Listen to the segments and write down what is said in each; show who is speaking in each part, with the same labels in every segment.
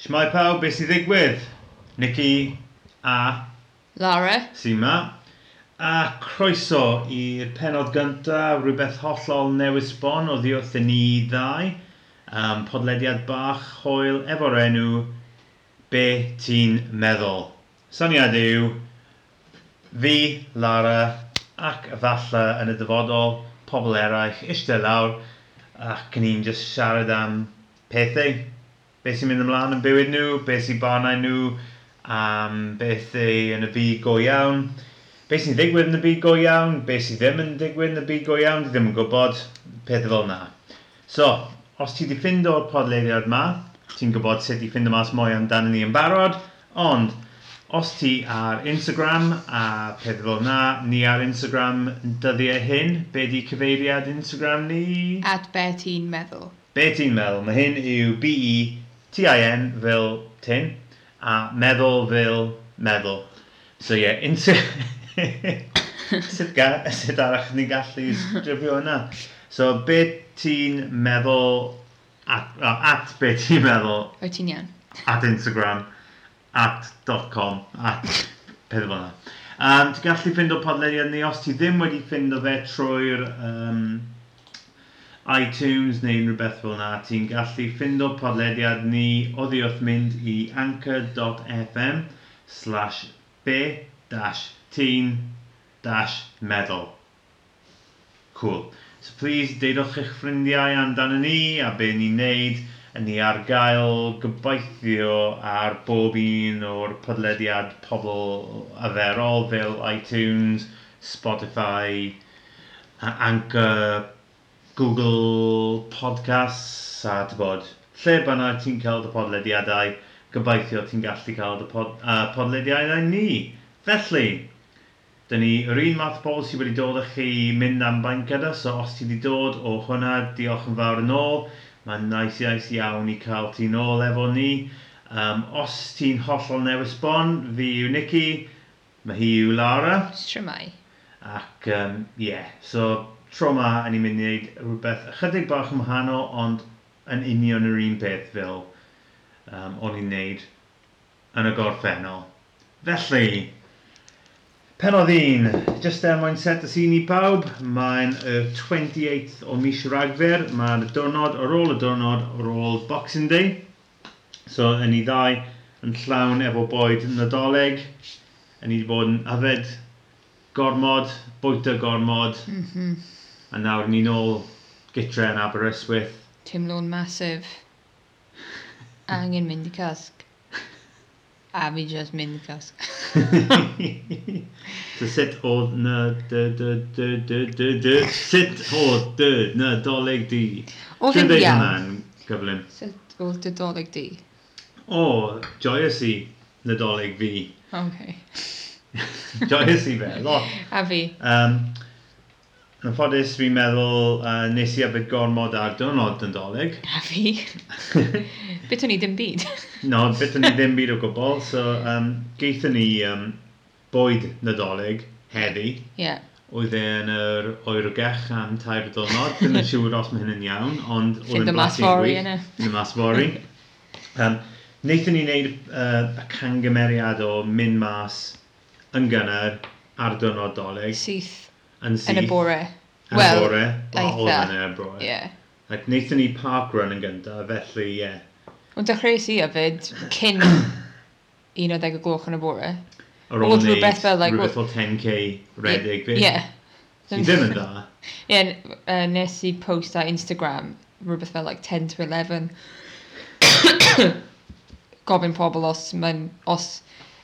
Speaker 1: Shmai pawb, beth sy'n ddigwydd? Nicky a
Speaker 2: Lara.
Speaker 1: Sima. A croeso i'r penod gyntaf, rhywbeth hollol newydd sbon o ddiwrth i ni ddau. Um, podlediad bach hwyl efo'r enw Be ti'n meddwl? Syniad yw, fi, Lara, ac efallai yn y dyfodol, pobl eraill, eistedd lawr, ac ni'n just siarad am pethau. Beth sy'n mynd ymlaen yn bywyd nhw, beth sy'n barnau nhw, am beth ei yn y byd go iawn. Beth sy'n ddigwydd yn y byd go iawn, beth sydd ddim yn digwydd yn y byd go iawn, dwi ddim yn gwybod pethau fel yna. So, os ti wedi ffind o'r podleiriad yma, ti'n gwybod sut i ffind o mas mwy amdano ni yn barod, ond os ti ar Instagram a pethau fel yna, ni ar Instagram dyddiau hyn, be di cyfeiriad Instagram ni?
Speaker 2: At be ti'n meddwl.
Speaker 1: Be ti'n meddwl? Mae hyn yw E B-E-T-I-N fel tin a meddwl fel meddwl. So ie, yeah, inter... sut, ga... sut arach ni'n gallu strifio yna? So be ti'n meddwl at, o, at be ti'n meddwl
Speaker 2: Wyt ti'n iawn?
Speaker 1: at Instagram, at .com, at pethau fel yna. Um, ti'n gallu ffind o podlediad ni, os ti ddim wedi ffind o fe trwy'r um, iTunes neu unrhyw beth fel yna, ti'n gallu ffind o podlediad ni oddi wrth mynd i anchor.fm slash b dash teen dash meddwl. Cool. So please deudwch eich ffrindiau amdano ni a be ni'n neud yn ni ar gael gobeithio ar bob un o'r podlediad pobl aferol fel iTunes, Spotify, a- Anchor, Google Podcasts a tybod. Lle bynnag ti'n cael dy podlediadau, gobeithio ti'n gallu cael dy pod, uh, podlediadau ni. Felly, Dyn ni yr un math o bobl sydd wedi dod â chi i mynd am bain gyda, so os ti wedi dod o hwnna, diolch yn fawr yn ôl. Mae'n nice iaith iawn i cael ti nôl efo ni. Um, os ti'n hollol newydd sbon, fi yw Nicky, mae hi yw Lara.
Speaker 2: Shrimai.
Speaker 1: Ac ie, um, yeah. so tro yma yn i'n mynd i wneud rhywbeth ychydig bach yn wahanol, ond yn union yr un peth fel um, o'n i'n wneud yn y gorffennol. Felly, penodd un, jyst er mwyn set y sîn i pawb, mae'n y 28th o mis Ragfyr, mae'n y diwrnod ar ôl y diwrnod ar ôl Boxing Day. So, yn i ddau yn llawn efo boed Nadolig, yn i wedi bod yn yfed gormod, bwyta gormod,
Speaker 2: Mm -hmm.
Speaker 1: a nawr ni nôl gytre yn Aberystwyth.
Speaker 2: Teimlo'n masif. Angen mynd i casg. A fi just mynd i casg.
Speaker 1: so sut oedd na dy dy dy dy dy dy sut oedd dy na doleg di?
Speaker 2: Oedd
Speaker 1: Lle
Speaker 2: yn
Speaker 1: ddeud
Speaker 2: iawn.
Speaker 1: hwnna'n gyflym?
Speaker 2: Sut oedd dy doleg di?
Speaker 1: O, joyous i na doleg fi.
Speaker 2: OK.
Speaker 1: joyous i fe, lot.
Speaker 2: A fi.
Speaker 1: Um, yn ffodus fi'n meddwl uh, nes i abod gormod ar dynod yn doleg.
Speaker 2: A fi. Beth o'n i ddim byd.
Speaker 1: No, beth ni ddim byd o gwbl. So, um, geithon ni um, bwyd nadolig heddi.
Speaker 2: Ie.
Speaker 1: Oedd e yn yr oergech am tair dwrnod. Dwi'n yn siŵr os mae hyn yn iawn, ond oedd
Speaker 2: Ffeind y
Speaker 1: e'n
Speaker 2: mas
Speaker 1: blasyn
Speaker 2: fory
Speaker 1: gwych.
Speaker 2: yna.
Speaker 1: Yn y mas fory. Um, Naethon ni wneud uh, y cangymeriad o mynd mas yn gynnar ar dwrnod doleg
Speaker 2: Syth.
Speaker 1: yn syth.
Speaker 2: Yn y bore.
Speaker 1: Yn y
Speaker 2: Wel,
Speaker 1: bore. Wel, oedd
Speaker 2: eitha.
Speaker 1: yn y bore.
Speaker 2: Ie.
Speaker 1: Ac naethon ni park run yn gyntaf, felly ie. Yeah.
Speaker 2: Ond dechreuais i yfyd cyn 11 o gloch yn y bore.
Speaker 1: Ar
Speaker 2: Oedd rhywbeth fel, like,
Speaker 1: rhywbeth o 10k redig fi.
Speaker 2: Ie.
Speaker 1: Ti ddim yn dda.
Speaker 2: Ie, n- yy, nes i post ar Instagram rhywbeth fel like 10 to 11 gofyn pobl os mae'n os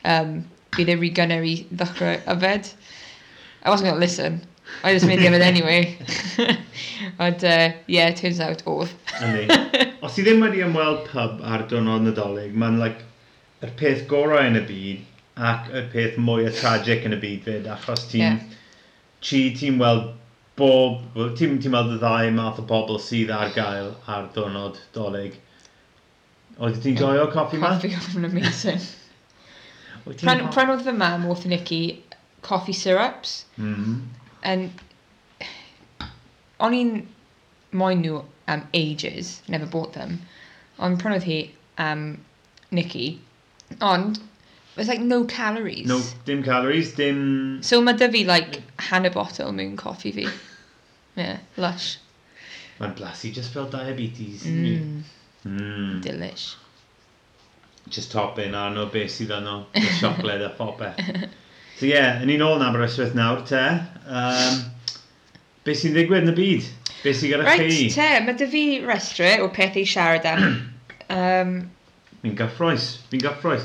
Speaker 2: um, bydd e'r gynnar i ddechrau yfed I wasn't gonna listen I just made the yfed anyway ond uh, yeah it turns out oedd
Speaker 1: Yndi. Os ti ddim wedi ymweld pub ar dwrnod nadolig, mae'n like, yr peth gorau yn y byd ac y peth mwy o tragic yn y byd fyd, achos ti'n... Yeah.
Speaker 2: Ie.
Speaker 1: Ti, ti'n weld bob... wel, Ti'n ti weld y ddau math o bobl sydd ar gael ar dwrnod dolig. Oedd ti'n joio coffi ma?
Speaker 2: coffee oedd yn amazing
Speaker 1: Oedd ti'n
Speaker 2: Pren,
Speaker 1: ho-
Speaker 2: prenodd fy mam wrth Nicky coffee syrups
Speaker 1: Mhm.
Speaker 2: and o'n i'n moyn nhw am ages, never bought them, ond prynodd hi am Nikki. Ond, it's like no calories.
Speaker 1: No, dim calories, dim...
Speaker 2: So mae dy fi, like, hanner bottle mewn coffi fi. Yeah, lush.
Speaker 1: Mae'n blasu just fel diabetes. Mm.
Speaker 2: Mm,
Speaker 1: Mm.
Speaker 2: delish.
Speaker 1: Just topping ar no beth sydd arno. y Siocled a phopeth. So ie, yeah, yn un ôl yn Aberystwyth nawr, te. Um, beth sy'n digwydd yn y byd? Beth sy'n gyda
Speaker 2: Right,
Speaker 1: chi?
Speaker 2: te, mae dy fi restru o pethau i siarad am. um,
Speaker 1: Fi'n gyffroes, fi'n gyffroes.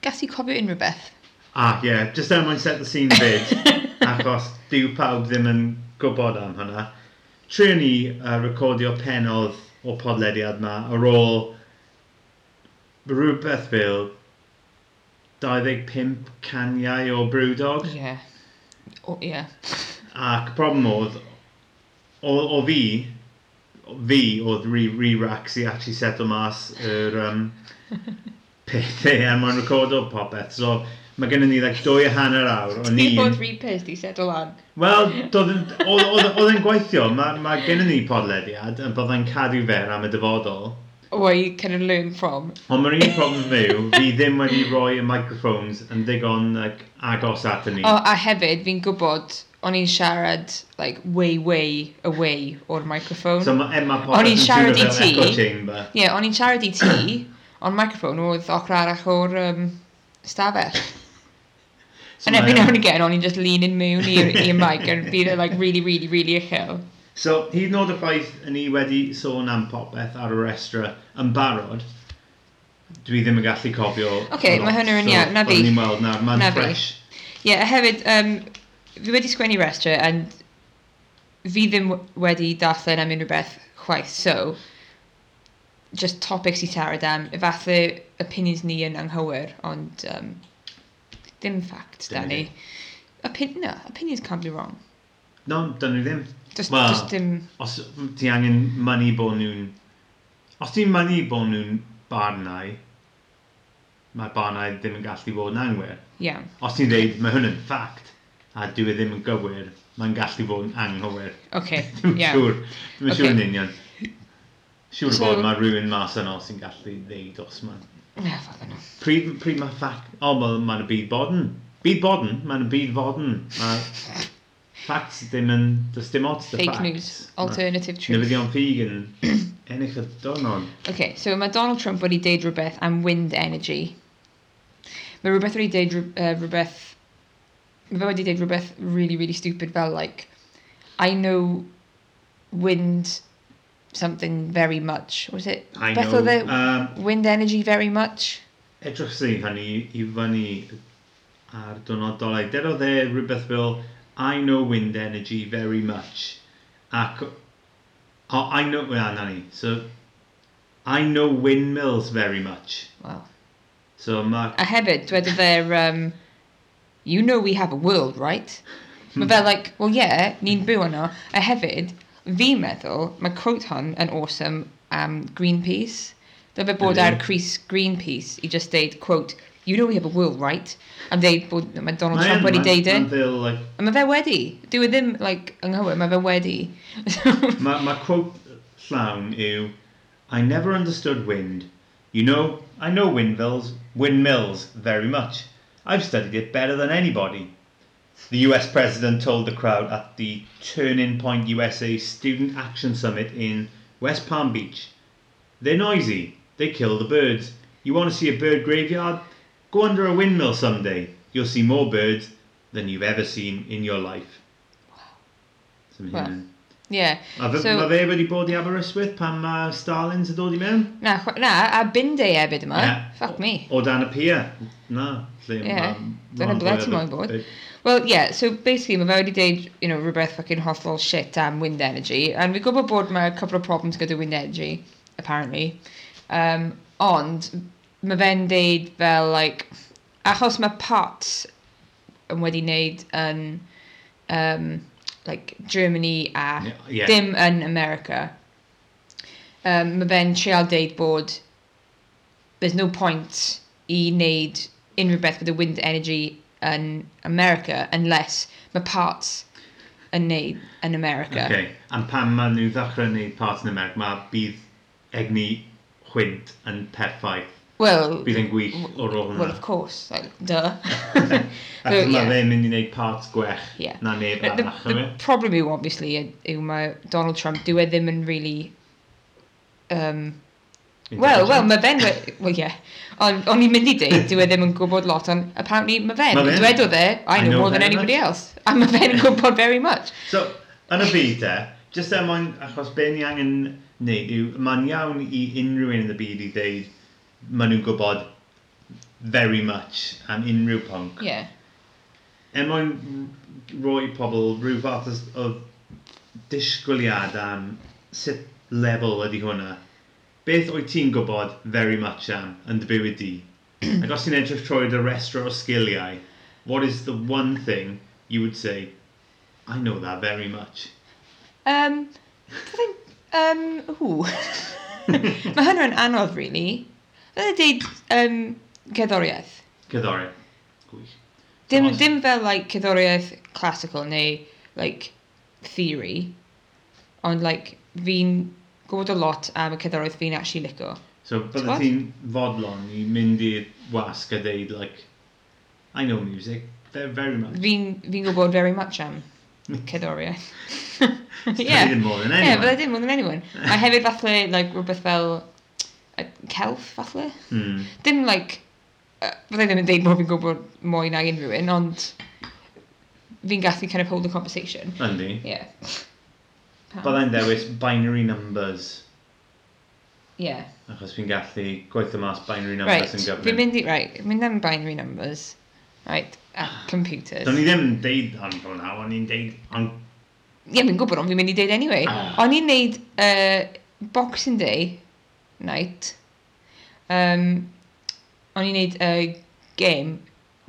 Speaker 2: gas i cofio unrhyw beth.
Speaker 1: Ah, ie, yeah, just er mwyn set the scene byd, achos dyw pawb ddim yn gwybod am hynna. Trio ni uh, recordio penodd o podlediad ma ar ôl rhywbeth fel 25 caniau o Brewdog.
Speaker 2: Yeah. O, yeah.
Speaker 1: Ac problem oedd, o, o fi, fi oedd re-rax i actually settle mas yr um, pethau er mwyn recordo popeth. So mae gennym ni like, dwy a hanner awr o
Speaker 2: Ti'n bod
Speaker 1: ni.
Speaker 2: rhi pissed i settle lan?
Speaker 1: Wel, doedd yn- oedd oedd- oedd e'n gweithio. Mae ma gennym ni podlediad yn byddai'n cadw fe am y dyfodol.
Speaker 2: Where you can learn from.
Speaker 1: Ond mae'r un problem yw, fi ddim wedi rhoi y microphones yn ddigon like, agos at ni.
Speaker 2: O, a hefyd, fi'n gwybod, o'n i'n siarad, like, way, way away o'r microphone.
Speaker 1: So
Speaker 2: Ie,
Speaker 1: mae Emma
Speaker 2: O'n
Speaker 1: popeth
Speaker 2: i'n
Speaker 1: yn
Speaker 2: siarad i
Speaker 1: siarad
Speaker 2: ti.
Speaker 1: echo chamber.
Speaker 2: yeah, o'n i'n siarad i ti, ond microphone oedd ochr arach o'r um, stafell. e-
Speaker 1: So e-
Speaker 2: And every
Speaker 1: mae-
Speaker 2: now and again, o'n i'n just leaning mewn i'r i'r mic and being like really, really, really uchel.
Speaker 1: So, hyd yn oed y ffaith yn ni wedi sôn am popeth ar y restra yn barod, dwi ddim yn gallu cofio.
Speaker 2: Oce,
Speaker 1: lot.
Speaker 2: mae hynny yn
Speaker 1: So,
Speaker 2: iawn, na
Speaker 1: fel
Speaker 2: fi.
Speaker 1: ni'n weld nawr, mae'n
Speaker 2: Na fi.
Speaker 1: fresh.
Speaker 2: Ie, yeah, hefyd, um, fi wedi sgwennu restr, and fi ddim w- wedi darllen am unrhyw beth chwaith, so just topics i siarad am, efallai opinions ni yn anghywir, ond um, dim fact,
Speaker 1: Dim
Speaker 2: Danny. Opin no, opinions can't be wrong.
Speaker 1: No, dyn nhw ddim.
Speaker 2: Just,
Speaker 1: Wel-
Speaker 2: just dim...
Speaker 1: Os ti angen mynnu bod nhw'n... Os ti'n mynnu bod nhw'n barnau, mae barnau ddim yn gallu bod yn anghywir.
Speaker 2: Iawn.
Speaker 1: Os ti'n dweud, mae hwn yn ffact, a dwi e ddim yn gywir, mae'n gallu bod yn anghywir.
Speaker 2: Okay,
Speaker 1: Dwi'n
Speaker 2: iawn.
Speaker 1: siŵr. Dwi'n siŵr
Speaker 2: Ocê.
Speaker 1: yn union. Siŵr
Speaker 2: So-
Speaker 1: bod mae rhywun mas yno sy'n gallu ddeud os mae'n
Speaker 2: Yeah, fuck no.
Speaker 1: Pryd, pryd mae ffac... O, oh, mae'n y byd bodyn. Byd bodyn, mae'n y byd fodyn. Mae facts ddim yn... Does dim ots the
Speaker 2: Fake
Speaker 1: facts.
Speaker 2: news, alternative
Speaker 1: Na,
Speaker 2: truth.
Speaker 1: newyddion ffug yn ennill y donon.
Speaker 2: Okay, so mae Donald Trump wedi deud rhywbeth am wind energy. Mae rhywbeth wedi deud rhyw- yy, rhywbeth... Mae fe wedi deud rhywbeth really, really stupid fel, like, I know wind something very much. Was it?
Speaker 1: I
Speaker 2: Beth
Speaker 1: know.
Speaker 2: oedd e?
Speaker 1: Um,
Speaker 2: Wind energy very much?
Speaker 1: edrych si hynny i fyny ar dynodolau. Derodd e rhywbeth fel, I know wind energy very much. Ac, o, I know, well, na ni. So, I know windmills very much.
Speaker 2: Well.
Speaker 1: So, mae...
Speaker 2: A hefyd, dweud there, um, you know we have a world, right?
Speaker 1: Hmm.
Speaker 2: Mae fe, like, well, yeah, ni'n byw yno. A hefyd, fi meddwl, mae quote hon yn awesome am Greenpeace. Dyle fe bod
Speaker 1: Ydi.
Speaker 2: ar Chris Greenpeace i just deud, quote, you know we have a world, right? A dweud bod, mae Donald
Speaker 1: Mae yn-
Speaker 2: Trump wedi
Speaker 1: mae'n-
Speaker 2: deud e.
Speaker 1: Mae'n fel, like,
Speaker 2: A mae fe wedi. Dyw e ddim, like, ynghywir, mae fe wedi.
Speaker 1: My, my quote llawn yw, I never understood wind. You know, I know windmills, windmills very much. I've studied it better than anybody. The US president told the crowd at the Turning Point USA Student Action Summit in West Palm Beach. They're noisy. They kill the birds. You want to see a bird graveyard? Go under a windmill someday. You'll see more birds than you've ever seen in your life. Some
Speaker 2: Wow.
Speaker 1: human.
Speaker 2: yeah.
Speaker 1: A fe,
Speaker 2: So-
Speaker 1: so, mae fe wedi bod i Aberystwyth pan mae Starlins yn dod i mewn?
Speaker 2: Na, chwa- na, a bindau ebyd yma.
Speaker 1: Yeah.
Speaker 2: Fuck me.
Speaker 1: O dan y pier? Na. Lle
Speaker 2: Ie,
Speaker 1: ma-
Speaker 2: dyna
Speaker 1: ma'n
Speaker 2: ble ti
Speaker 1: fwy o-
Speaker 2: moyn bod. Well, yeah, so basically mae fe wedi deud, you know, rhywbeth fucking hollol shit am wind energy, and we gwybod bod mae a couple of problems gyda wind energy, apparently, um, ond mae fe'n deud fel, like, achos mae parts yn wedi wneud yn, um, like, Germany a
Speaker 1: Ie.
Speaker 2: dim yn America. Um, mae fe'n trial deud bod there's no point i wneud unrhyw beth gyda wind energy yn America unless mae parts yn wneud yn America.
Speaker 1: Okay. A pan maen nhw ddechrau wneud part yn America, mae bydd egni chwint yn perffaith
Speaker 2: Wel,
Speaker 1: Bydd yn gwych o'r ôl
Speaker 2: well,
Speaker 1: hwnna.
Speaker 2: of course, like, duh.
Speaker 1: Ac
Speaker 2: so,
Speaker 1: mae
Speaker 2: yeah.
Speaker 1: fe'n mynd i wneud part gwech
Speaker 2: Yeah.
Speaker 1: na neb
Speaker 2: But the,
Speaker 1: arall
Speaker 2: the
Speaker 1: yma.
Speaker 2: problem yw, obviously, y- yw mae Donald Trump, dyw e ddim yn really... Um, Wel, wel, mae fe'n... we- Wel, ie. Ond o'n i'n mynd i deud, dyw e ddim yn gwybod lot, ond apparently mae fe'n.
Speaker 1: Ma' fe'n.
Speaker 2: Dwedodd e, I know more than
Speaker 1: very
Speaker 2: anybody
Speaker 1: much."
Speaker 2: else. A mae fe'n gwybod very much.
Speaker 1: So, yn y byd e, jyst er mwyn, achos be ni angen wneud yw, mae'n iawn i unrhyw un yn y byd i ddeud, maen nhw'n gwybod very much am unrhyw pwnc.
Speaker 2: Ie. Yeah.
Speaker 1: Er mwyn roi pobl rhyw fath o- o disgwyliad am sut level ydy hwnna. Beth wyt ti'n gwybod very much am yn dy bywyd di? Ac os ti'n edrych trwy dy restro o sgiliau, what is the one thing you would say, I know that very much?
Speaker 2: Um, I think, um, who? Mae hynny'n anodd, really. Dwi'n deud, um, cerddoriaeth.
Speaker 1: Cyddori. Gwych.
Speaker 2: Dim,
Speaker 1: Os-
Speaker 2: dim fel, like, cerddoriaeth classical neu, like, theory. Ond, like, fi'n gwybod a lot am y cerddoriaeth fi'n actually lico.
Speaker 1: So,
Speaker 2: T'bod?
Speaker 1: bydde ti'n fodlon i mynd i'r wasg a deud, like, I know music, very, very much.
Speaker 2: Fi'n fi gwybod very much am cerddoriaeth.
Speaker 1: Yeah.
Speaker 2: yeah.
Speaker 1: Ti'n more than
Speaker 2: Yeah, but I
Speaker 1: anyone.
Speaker 2: didn't more than anyone. A hefyd falle, like, rhywbeth fel, uh, celf, falle?
Speaker 1: Hmm.
Speaker 2: dim like uh, fydda i ddim yn deud bod fi'n gwybod mwy na unrhyw un ond fi'n gallu kind of hold the conversation
Speaker 1: Yndi.
Speaker 2: yeah
Speaker 1: Byddai'n dewis binary numbers,
Speaker 2: yeah
Speaker 1: achos fi'n gallu gweithio mas binary
Speaker 2: right
Speaker 1: numbers yn
Speaker 2: fi'n
Speaker 1: gyflym.
Speaker 2: mynd i right mynd am binary numbers right a computers
Speaker 1: Do'n i ddim yn deud am hwnna, o'n i'n deud am...
Speaker 2: yeah fi'n gwybod ond fi'n mynd i deud anyway
Speaker 1: Ah.
Speaker 2: o'n i'n neud uh, boxing day night um, o'n i'n neud uh, game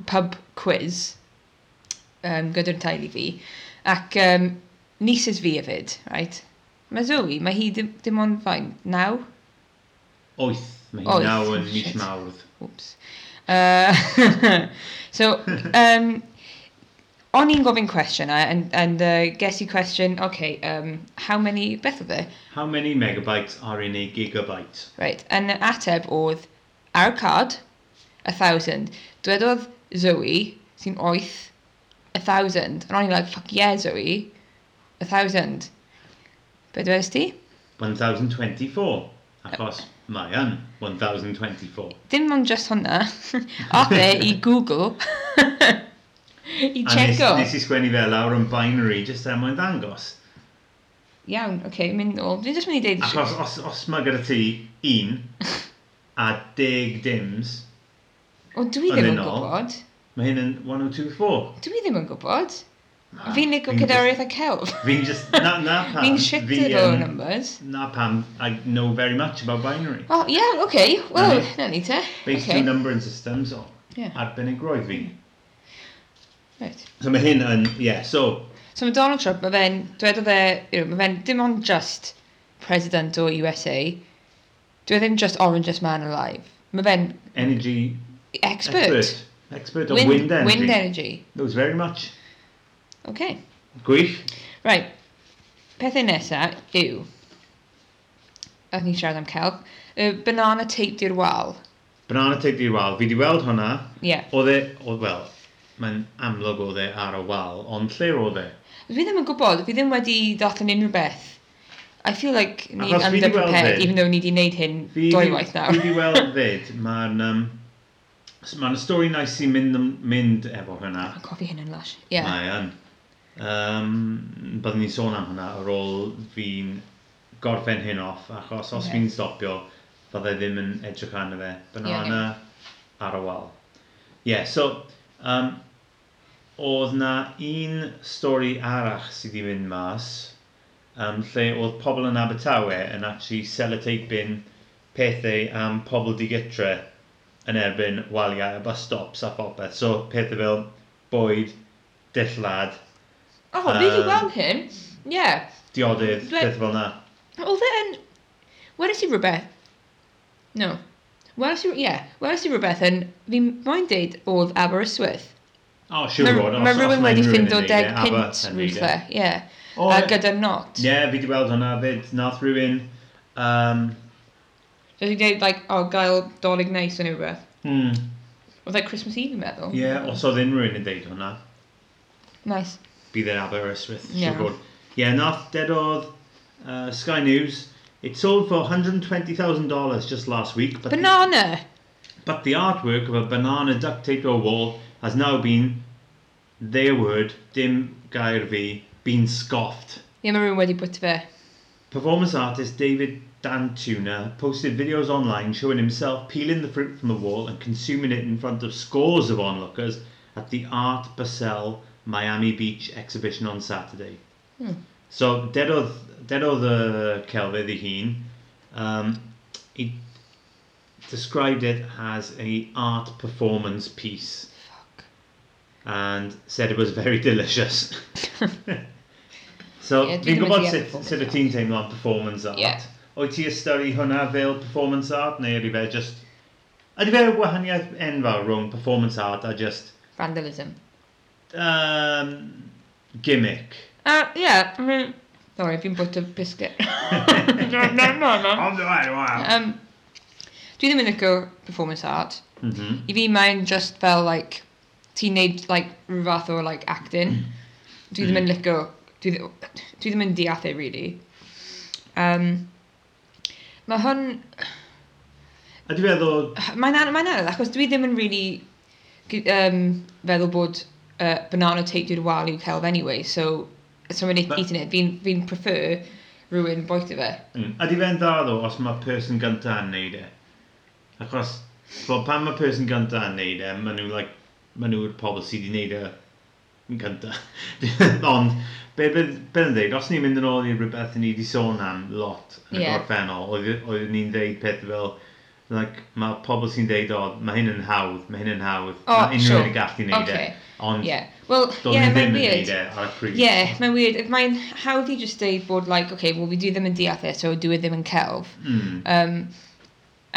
Speaker 2: pub quiz um, gyda'r teulu fi. Ac um, nisus fi hefyd, right? Mae Zoe, mae hi dim, dim ond fain, naw?
Speaker 1: Oeth, mae
Speaker 2: Oeth,
Speaker 1: hi'n naw yn mis
Speaker 2: shit.
Speaker 1: mawrth.
Speaker 2: Oops. Uh, so, um, o'n i'n gofyn cwestiwn a, and, and uh, ges i cwestiwn, okay, um, how many, beth oedd e?
Speaker 1: How many megabytes are in a gigabyte?
Speaker 2: Right, yn y ateb oedd, ar y card, a thousand. Dwedodd Zoe, sy'n oeth, a thousand. And o'n i'n like, fuck yeah, Zoe, a thousand. Be dwedodd ti?
Speaker 1: 1024, achos mae yn 1024.
Speaker 2: Dim ond just hwnna. Ath e i Google. I
Speaker 1: A nes,
Speaker 2: checo.
Speaker 1: nes i sgwennu fel lawr yn binary, jyst er mwyn ddangos.
Speaker 2: Iawn, oce, okay, mynd nôl. Dwi'n just mynd i deud y
Speaker 1: Achos
Speaker 2: siwr.
Speaker 1: os, os mae gyda ti un a deg dims,
Speaker 2: O, dwi
Speaker 1: yn
Speaker 2: ddim yn
Speaker 1: un ôl.
Speaker 2: gwybod.
Speaker 1: mae hyn yn 1024.
Speaker 2: Dwi ddim yn gwybod. Fi'n nico cadariaeth a celf.
Speaker 1: Fi'n just, na, na pam.
Speaker 2: Fi'n
Speaker 1: fi,
Speaker 2: shitter o
Speaker 1: yym,
Speaker 2: numbers.
Speaker 1: Na pam, I know very much about binary.
Speaker 2: O, oh, iawn, oce. Okay. Wel,
Speaker 1: Right.
Speaker 2: na ni te.
Speaker 1: Based
Speaker 2: Okay.
Speaker 1: on numbering systems o
Speaker 2: Yeah,
Speaker 1: arbenigroedd fi.
Speaker 2: right.
Speaker 1: So mae hyn yn, yeah, so,
Speaker 2: So mae Donald Trump, mae fe'n, dwedodd e, you know, mae fe'n dim ond just president o USA. Dwi e ddim just orangest man alive. Mae fe'n
Speaker 1: energy
Speaker 2: expert.
Speaker 1: expert. Expert o
Speaker 2: Wind,
Speaker 1: wind energy.
Speaker 2: Wind energy.
Speaker 1: Knows very much.
Speaker 2: Okay.
Speaker 1: Gwych.
Speaker 2: Right. Pethau nesaf yw... A ni siarad am celf. Y banana taped i'r wal.
Speaker 1: Banana tape i'r wal. Fi wedi weld hwnna.
Speaker 2: Ie. Yeah.
Speaker 1: Oedd e, oedd, wel, mae'n amlwg oedd e ar y wal, ond lle oedd e?
Speaker 2: Fi ddim yn gwybod, fi ddim wedi darllen unrhyw beth. I feel like ni
Speaker 1: Achos fi 'di weld
Speaker 2: underprepared,
Speaker 1: hyn.
Speaker 2: even though ni wedi wneud hyn
Speaker 1: Fi-
Speaker 2: dwy waith
Speaker 1: Fi wedi
Speaker 2: nawr.
Speaker 1: weld fyd, mae'n... Um, Mae'n stori nice sy'n mynd, am- mynd efo hynna.
Speaker 2: Mae'n coffi hyn yn lush. Ie. Yeah.
Speaker 1: Mae yn. Um, byddwn ni'n sôn am hwnna ar ôl fi'n gorffen hyn off, achos os
Speaker 2: Ie.
Speaker 1: fi'n stopio, byddai ddim yn edrych arno fe. Banana ar y wal. Ie, yeah, so, um, oedd na un stori arach sydd wedi mynd mas, um, lle oedd pobl yn Abertawe yn actually sellotapein pethau am pobl digytre yn erbyn waliau a bus stops a popeth. So, pethau fel bwyd, dillad,
Speaker 2: O, oh, fi wedi
Speaker 1: Yym.
Speaker 2: weld hyn. Ie. Yeah.
Speaker 1: diodydd,
Speaker 2: Ble-
Speaker 1: pethau fel na.
Speaker 2: Oedd e'n... Weres i rhywbeth... No. Weres i... Ie. Yeah. Weres i rhywbeth yn... Fi moyn deud oedd Aberystwyth.
Speaker 1: O, oh, siwr bod.
Speaker 2: Mae rhywun wedi ffindo
Speaker 1: e,
Speaker 2: deg pint rhywle, ie.
Speaker 1: O,
Speaker 2: A
Speaker 1: ie.
Speaker 2: gyda not.
Speaker 1: Ie, fi wedi weld hwnna fyd. Nath rhywun um,
Speaker 2: So he did like, oh, gael dolig neis yn rhywbeth.
Speaker 1: Hmm.
Speaker 2: Oedd like Christmas Eve yn meddwl.
Speaker 1: Ie, os oedd unrhyw un yn deud hwnna,
Speaker 2: Nice.
Speaker 1: bydd e'n Aberystwyth.
Speaker 2: Ie.
Speaker 1: Yeah. Ie, nath dedodd uh, Sky News. It sold for $120,000 just last week, but,
Speaker 2: Banana!
Speaker 1: but the artwork of a banana duct taped to a wall has now been, their word, dim gair fi, been scoffed.
Speaker 2: Ie, mae rhywun wedi bwyta fe.
Speaker 1: Performance artist David Dantuna posted videos online showing himself peeling the fruit from the wall and consuming it in front of scores of onlookers at the Art Basel Miami Beach exhibition on Saturday.
Speaker 2: Hmm.
Speaker 1: So dead of dead of the Kelvin the Heen, um, he described it as a art performance piece
Speaker 2: Fuck.
Speaker 1: and said it was very delicious. so
Speaker 2: Ie, dwi
Speaker 1: fi'n
Speaker 2: ddim
Speaker 1: gwybod
Speaker 2: wedi
Speaker 1: sut,
Speaker 2: performance
Speaker 1: sut y
Speaker 2: art.
Speaker 1: ti'n teimlo am performance art.
Speaker 2: Ie.
Speaker 1: Wyt ti ystyru hwnna fel performance art neu ydy fe just... Ydy fe wahaniaeth enfawr rhwng performance art a just
Speaker 2: Vandalism.
Speaker 1: um, gimmick?
Speaker 2: Uh, yeah, I mean... Sorry, fi'n bwyta biscuit. no, no, no, no.
Speaker 1: On the way, wow.
Speaker 2: Um, dwi ddim yn licio performance art.
Speaker 1: Mhm.
Speaker 2: I fi mae'n just fel, like, ti'n neud, like, rhyw fath o, like, acting. Dwi ddim yn
Speaker 1: Mm-hmm.
Speaker 2: licio... Dwi, ddi- dwi ddim yn deall e, really. Um, mae hwn...
Speaker 1: Ydy fe ddod...
Speaker 2: Mae'n an- mae'n anodd, achos dwi ddim yn really gy- um, feddwl bod uh, banana taped i'r wal i'w celf anyway, so os someone
Speaker 1: But-
Speaker 2: eating it, fi'n fi prefer rhywun boita fe.
Speaker 1: Mm. Ydy fe'n dda ddo os mae person gyntaf yn neud e? Achos, well, pan mae person gyntaf yn neud e, maen nhw, like, maen nhw'r pobl sydd wedi neud e yn gyntaf. Ond, be bydd be yn dweud, os ni'n mynd yn ôl i rhywbeth ni wedi sôn am lot yn y
Speaker 2: Ie.
Speaker 1: gorffennol, oedd- oedd ni'n dweud pethau fel, like, mae pobl sy'n dweud, o, mae hyn yn hawdd, mae hyn yn hawdd,
Speaker 2: O,
Speaker 1: mae unrhyw
Speaker 2: sure.
Speaker 1: un yn gallu neud
Speaker 2: Okay.
Speaker 1: e. Ond,
Speaker 2: Yeah. Well,
Speaker 1: doedd
Speaker 2: yeah,
Speaker 1: ni
Speaker 2: mae'n
Speaker 1: ddim yn neud
Speaker 2: weird.
Speaker 1: e ar y pryd.
Speaker 2: Yeah, mae'n weird. Mae'n hawdd i just deud bod, like, okay, well, fi dwi ddim yn deall e, so dwi ddim yn celf.
Speaker 1: Mm.
Speaker 2: Um,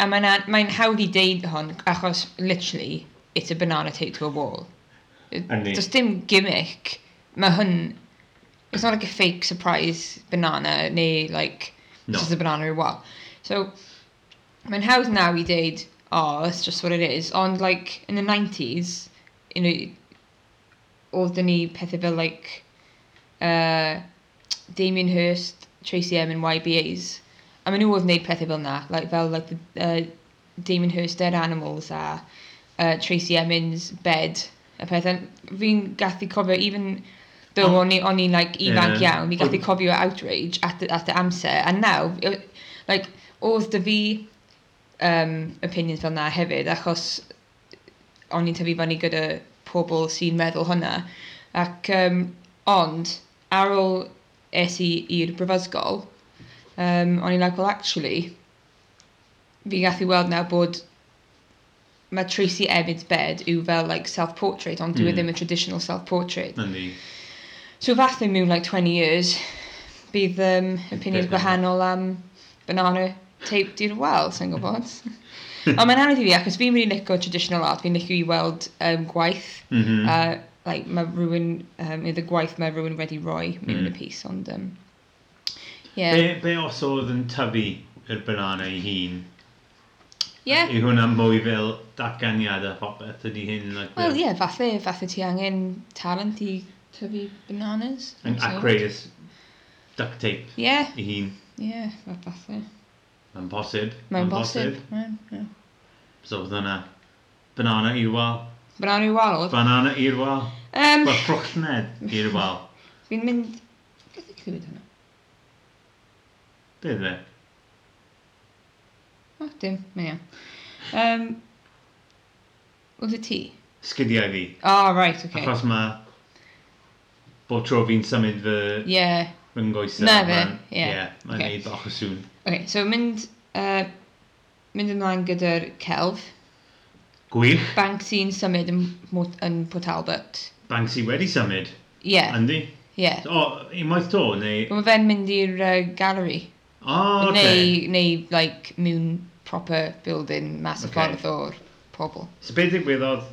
Speaker 2: a mae'n a- mae'n hawdd i deud hon, achos, literally, it's a banana taped to a wall. It-
Speaker 1: Yndi.
Speaker 2: Does dim gimmick. Mae hwn... It's not like a fake surprise banana, neu, like,
Speaker 1: No.
Speaker 2: it's just a banana or a wall. So, mae'n hawdd now i deud, oh, that's just what it is. Ond, like, in the 90s, you know, oedden ni pethau fel, like, uh, Damien Hirst, Tracy Emin, YBAs. A maen nhw oedd wneud pethau fel na, like, fel like, the, uh, Damien Hirst Dead Animals a uh, Tracy Emin's Bed. A pethau, fi'n gathu cofio, even though o'n i- o'n i'n like, ifanc
Speaker 1: Ie.
Speaker 2: iawn, fi gathu cofio outrage at the, at the amser. A now, y- like, oedd dy fi um, opinions fel na hefyd, achos o'n i'n tyfu fyny gyda pobl sy'n meddwl hwnna. Ac, um, ond, ar ôl es i i'r brifysgol, um, o'n i'n like, well, actually, fi gathu weld nawr bod mae Tracy Ebbins bed yw fel like self-portrait, ond dwi
Speaker 1: Mm.
Speaker 2: mm. ddim yn traditional self-portrait.
Speaker 1: Yndi.
Speaker 2: So fath mewn like 20 years, bydd um, opinions
Speaker 1: Bit
Speaker 2: gwahanol am banana taped i'r wal, sy'n gwybod. Ond mae'n anodd i fi, achos fi'n really licio traditional art, fi'n licio i weld um, gwaith.
Speaker 1: Mhm.
Speaker 2: Uh, like, mae rhywun, um, either gwaith mae rhywun wedi roi mewn y piece, ond... Um, yeah.
Speaker 1: Mm. Be, be os oedd yn tyfu yr banana ei hun?
Speaker 2: Yeah.
Speaker 1: Yw hwnna mwy fel datganiad a popeth ydy hyn? Like,
Speaker 2: Wel,
Speaker 1: fel-
Speaker 2: ie, yeah, fathe, fathe ti angen talent i tyfu bananas.
Speaker 1: yn- A creu ys duct tape
Speaker 2: Ie,
Speaker 1: ei hun.
Speaker 2: ie, fa- fathe.
Speaker 1: Mae'n posib.
Speaker 2: Mae'n
Speaker 1: ma'n
Speaker 2: bosib. Mae'n, ie.
Speaker 1: So oedd hwnna. Banana i'r wal.
Speaker 2: Banana i'r wal, oedd.
Speaker 1: Banana i'r wal.
Speaker 2: Um,
Speaker 1: Wel, ffrwchned i'r wal.
Speaker 2: Fi'n mynd... Beth ydy clywed hwnna?
Speaker 1: Be e? dde?
Speaker 2: O, oh, dim. Mae'n iawn. Um, oedd y ti?
Speaker 1: Sgidiau fi.
Speaker 2: O, oh, right,
Speaker 1: Okay.
Speaker 2: okay.
Speaker 1: Achos mae bob tro fi'n symud fy
Speaker 2: Yeah.
Speaker 1: ryngoesau.
Speaker 2: Na fe, ie.
Speaker 1: Mae'n
Speaker 2: Okay.
Speaker 1: neud bach o sŵn.
Speaker 2: Okay, so mynd... Uh, mynd ymlaen gyda'r celf.
Speaker 1: Gwych.
Speaker 2: Bank sy'n symud yn, Mo- yn Port Albert.
Speaker 1: Banksy wedi symud.
Speaker 2: Yeah,
Speaker 1: Andy?
Speaker 2: yeah.
Speaker 1: O, unwaith to, neu...
Speaker 2: Mae fe'n mynd i'r uh, gallery.
Speaker 1: O, oce.
Speaker 2: Neu, neu, like, mewn proper building, mas y
Speaker 1: Ocê.
Speaker 2: ffordd o'r pobl.
Speaker 1: So beth ddigwyddodd,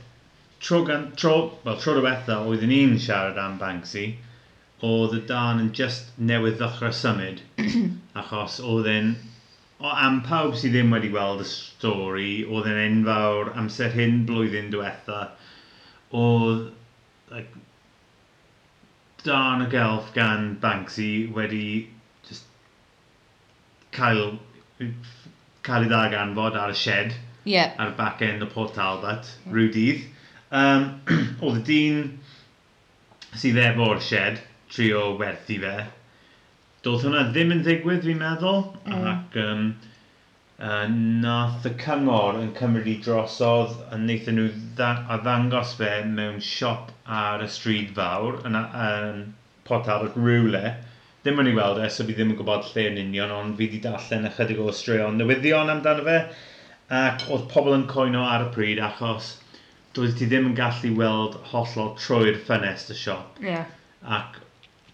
Speaker 1: tro, gan, tro, well, tro diwetha oeddwn i'n siarad am Banksy, oedd y dan yn just newydd ddechrau symud, achos oedd e'n O am pawb sydd ddim wedi weld y stori, oedd yn enfawr amser hyn blwyddyn diwetha, oedd like, darn y gelf gan Banksy wedi just cael, cael ei ddarganfod ar y shed
Speaker 2: Yeah.
Speaker 1: ar y back end o Port Albert, rhyw dydd. Um, oedd y dyn sydd efo'r shed, trio werthu fe. Doedd hwnna ddim yn ddigwydd, fi'n meddwl,
Speaker 2: Mm.
Speaker 1: ac um, uh, nath y cyngor yn cymryd i drosodd a wnaethon nhw dda- a ddangos fe mewn siop ar y stryd fawr yn, yn pot ar y rywle. Ddim yn ei weld e, so fi ddim yn gwybod lle yn union, ond fi wedi darllen ychydig o straeon newyddion amdano fe. Ac oedd pobl yn coino ar y pryd achos doedd ti ddim yn gallu weld hollol trwy'r ffenest y siop
Speaker 2: Yeah.
Speaker 1: ac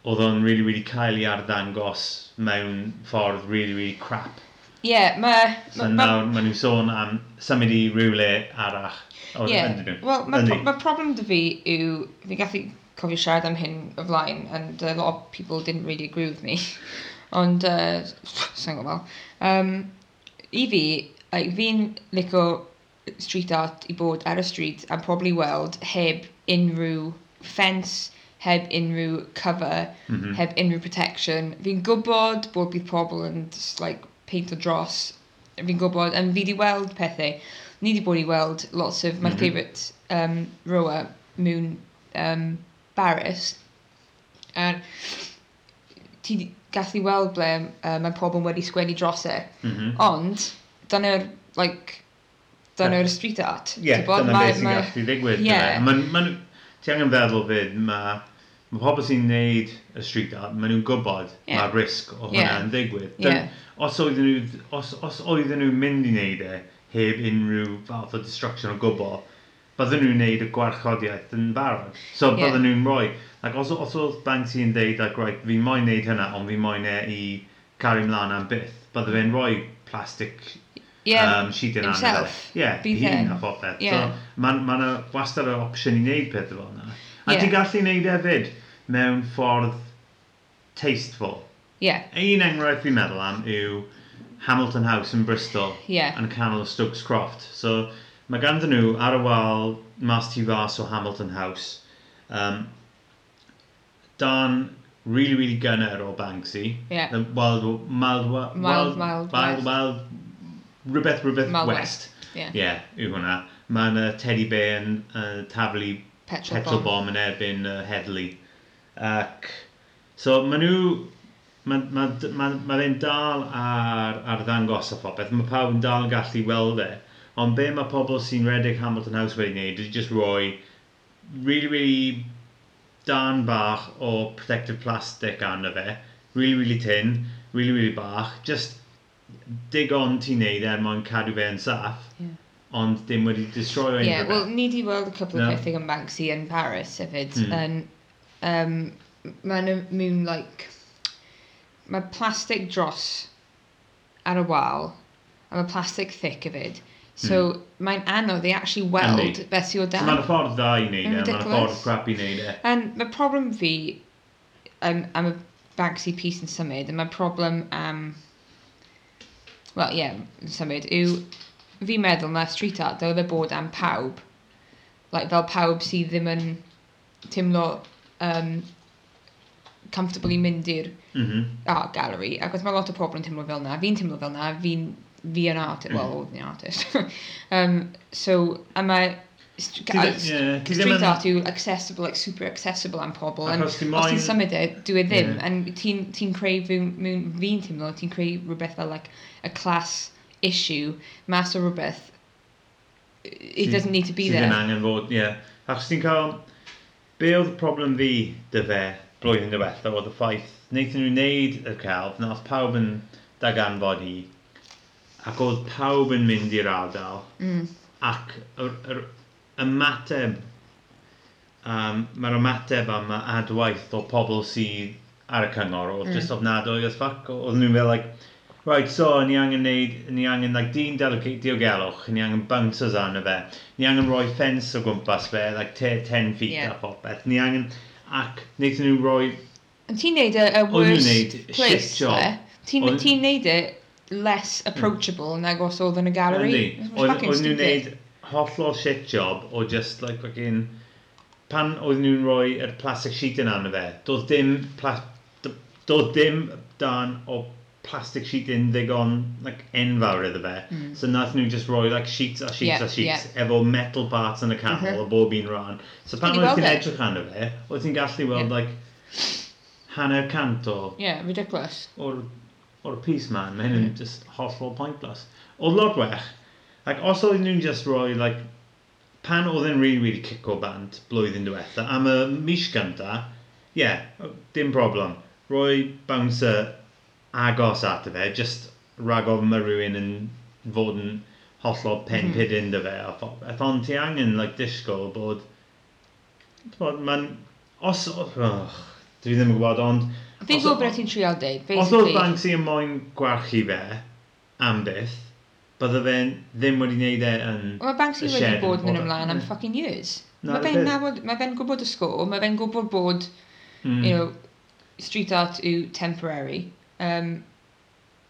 Speaker 1: oedd o'n really, really cael ei arddangos mewn ffordd really, really crap.
Speaker 2: Yeah, mae...
Speaker 1: So nawr maen nhw'n sôn am symud i rywle arach. O,
Speaker 2: Yeah.
Speaker 1: ydyn nhw?
Speaker 2: Wel, mae
Speaker 1: Ydyn
Speaker 2: pro-
Speaker 1: nhw?
Speaker 2: mae problem dy fi yw, fi gallu cofio siarad am hyn o flaen, and a lot of people didn't really agree with me. Ond, uh, sy'n gwybod. Um, I fi, like, fi'n licio street art i bod ar y stryd a probably weld heb unrhyw ffens, heb unrhyw cover,
Speaker 1: Mhm.
Speaker 2: heb unrhyw protection. Fi'n gwybod bod bydd pobl yn just, like, peint o dros. Fi'n gwybod, yn fi di weld pethau. Ni di bod i weld lots of my
Speaker 1: Mhm.
Speaker 2: favourite um, rower, Moon um, Barris. A ti 'di- gallu weld ble uh, mae pobl wedi sgwennu dros e.
Speaker 1: Mhm.
Speaker 2: Ond, dyna'r, like, dyna'r street art.
Speaker 1: Ie,
Speaker 2: ti'n gwbod?
Speaker 1: dyna
Speaker 2: Mae-
Speaker 1: beth sy'n
Speaker 2: mae-
Speaker 1: gallu ddigwydd.
Speaker 2: Ie.
Speaker 1: dyna. Ma'n- ma'n- Ti angen feddwl fyd, mae ma pobl sy'n neud y street art, maen nhw'n gwybod
Speaker 2: Ie.
Speaker 1: mae risg o hwnna
Speaker 2: Ie.
Speaker 1: yn digwydd.
Speaker 2: Ie.
Speaker 1: Dyn- Os oedden nhw, os, os oedden nhw'n mynd i wneud e, heb unrhyw fath o destruction o gwbl, bydden nhw'n wneud y gwarchodiaeth yn barod. So
Speaker 2: Ie.
Speaker 1: bydden nhw'n rhoi. Ac os, os oedd Banksy yn deud, like, right, fi moyn wneud hynna, ond fi moyn e i cario mlaen am byth, bydde fe'n rhoi plastic
Speaker 2: Ie,
Speaker 1: um, sheet yn anodd.
Speaker 2: himself,
Speaker 1: Ie,
Speaker 2: bydd
Speaker 1: hun
Speaker 2: e.
Speaker 1: a phopeth.
Speaker 2: Ie.
Speaker 1: So, mae'n ma 'na wastad yr opsiwn i wneud pethau fel yna. A
Speaker 2: Ie.
Speaker 1: ti'n gallu wneud e hefyd mewn ffordd tasteful.
Speaker 2: ie,
Speaker 1: Un enghraifft fi'n meddwl am yw Hamilton House yn Bristol
Speaker 2: Ie.
Speaker 1: yn y canol o Stokes Croft. So mae ganddyn nhw ar y wal mas tu fas o Hamilton House. Um, darn really, really gynnar o Banksy.
Speaker 2: Ie.
Speaker 1: The Wild, mild, wild,
Speaker 2: Mild, Wild
Speaker 1: wild, wild, wild, rhywbeth, rhywbeth
Speaker 2: Mild
Speaker 1: west.
Speaker 2: Ie.
Speaker 1: Ie, yeah, yw hwnna. Mae'n uh, teddy bear yn uh, taflu
Speaker 2: petrol,
Speaker 1: petrol
Speaker 2: bomb.
Speaker 1: bomb yn erbyn uh, heddlu. Ac, so mae nhw, mae ma, ma, ma fe'n dal ar, ar ddangos o phopeth, mae pawb yn dal yn gallu weld e. Ond be mae pobl sy'n redeg Hamilton House wedi'i wneud ydy just roi really, really darn bach o protective plastic arno fe, really, really tin, really, really bach, just digon ti'n neud er mwyn cadw fe yn saff,
Speaker 2: Ie.
Speaker 1: ond dim wedi destroy o
Speaker 2: Ie,
Speaker 1: unrhyw
Speaker 2: yeah,
Speaker 1: beth.
Speaker 2: wel, ni di weld y cwpl o
Speaker 1: No.
Speaker 2: pethau gan Banksy yn Paris hefyd.
Speaker 1: Hmm.
Speaker 2: Yn, um, Mae'n mewn, like, mae plastic dros ar y wal, a mae plastic thick hefyd. So, mae'n anodd i actually weld
Speaker 1: Yndi.
Speaker 2: beth sy'n o dan.
Speaker 1: Mae'n y ffordd dda i wneud e,
Speaker 2: Yn
Speaker 1: mae'n y
Speaker 2: ridiculous.
Speaker 1: ffordd crap i wneud e.
Speaker 2: Um, mae problem fi um, am y Banksy piece yn symud, a mae problem am... Wel, ie, yeah, yn symud, yw... Fi'n meddwl na street art dylai fe bod am pawb. Like, fel pawb sydd ddim yn teimlo um, comfortable i mynd i'r
Speaker 1: Mm -hmm.
Speaker 2: art gallery, ac oedd mae lot o pobl yn teimlo fel na, fi'n teimlo fel na, fi'n fi yn
Speaker 1: Mm.
Speaker 2: artist, well, oedd ni'n artist. um, so, a mae... st-
Speaker 1: Ti
Speaker 2: a-
Speaker 1: ddi- ie, ti ddim
Speaker 2: Street
Speaker 1: yn-
Speaker 2: art yw accessible, like super accessible am pobl. and
Speaker 1: Achos ti
Speaker 2: Os ti'n
Speaker 1: moyn-
Speaker 2: symud e, dwi e ddim.
Speaker 1: Ie.
Speaker 2: And ti'n ti creu, fi'n fi teimlo, ti'n creu rhywbeth fel like a class issue, mas o rhywbeth. It
Speaker 1: Sydd-
Speaker 2: doesn't need to be
Speaker 1: Sydd yn
Speaker 2: there.
Speaker 1: angen fod, ie. Yeah. Achos ti'n cael, be oedd y problem fi dy fe blwyddyn diwetha oedd y ffaith, wnaethon nhw wneud y celf, nath pawb yn daganfod hi, ac oedd pawb yn mynd i'r ardal,
Speaker 2: Mm.
Speaker 1: ac yr, yr ymateb, um, mae'r ymateb am y adwaith o pobl sydd ar y cyngor, oedd
Speaker 2: Mm.
Speaker 1: mm. just ofnadwy as fuck, oedd nhw'n fel, like, Right, so, ni angen neud, ni angen, like, dyn delegate diogelwch, ni angen bouncers arno fe, ni angen roi ffens o gwmpas fe, like, te, 10 feet
Speaker 2: Ie.
Speaker 1: a popeth, ni angen, ac wnaethon nhw roi,
Speaker 2: Ond ti'n neud y, y
Speaker 1: nhw'n
Speaker 2: worst
Speaker 1: neud shit
Speaker 2: place,
Speaker 1: job.
Speaker 2: le. Ti'n
Speaker 1: O'n- Hmm.
Speaker 2: ti'n neud e less approachable nag os oedd yn y gallery.
Speaker 1: Yndi.
Speaker 2: It was
Speaker 1: Oedd-
Speaker 2: fucking
Speaker 1: Oedden nhw'n
Speaker 2: stupid.
Speaker 1: neud hollol shit job o just like fucking... Pan oedden nhw'n rhoi yr plastic sheet yn arno fe, doedd dim, pla, d- doedd dim dan o plastic sheet yn ddigon like, enfawr iddo fe. Mm. So nath nhw just roi like, sheets a sheets
Speaker 2: Hmm. Yeah,
Speaker 1: a sheets efo metal parts yn y canol
Speaker 2: Mhm.
Speaker 1: o bob un rhan. So pan
Speaker 2: Ti'n
Speaker 1: oedd
Speaker 2: gweld
Speaker 1: ti'n
Speaker 2: e?
Speaker 1: edrych arno fe, oedd ti'n gallu weld
Speaker 2: Yeah.
Speaker 1: like, hanner cant o
Speaker 2: Yeah, ridiculous.
Speaker 1: o'r, or piece man, mae hyn yn just hollol pointless. Oedd lot wech, like, os oedd nhw'n just roi, like, pan oedd yn really, really kick o band blwyddyn diwetha, am y mis gynta, yeah, dim problem. Roi bouncer agos at y fe, just rag ofn mae rhywun yn fod yn hollol pen mm. pidyn dy fe. a pho- a Thon ti angen, like, disgwyl bod... bod man, os... Oh, dwi ddim yn gwybod, ond...
Speaker 2: Fi'n
Speaker 1: os-
Speaker 2: gwybod beth ti'n trio deud,
Speaker 1: Os oedd
Speaker 2: basically.
Speaker 1: Banksy yn moyn gwarchu fe am byth, bydde fe ddim wedi gwneud e yn...
Speaker 2: Wel, Mae Banksy
Speaker 1: y
Speaker 2: wedi
Speaker 1: shed
Speaker 2: bod yn
Speaker 1: yn
Speaker 2: ymlaen am
Speaker 1: bod-
Speaker 2: fucking years.
Speaker 1: Na,
Speaker 2: Mae
Speaker 1: y
Speaker 2: fe'n
Speaker 1: peth-
Speaker 2: nabod, mae fe'n gwybod y sgôr, mae fe'n gwybod bod,
Speaker 1: Mm.
Speaker 2: you know, street art yw temporary. Um,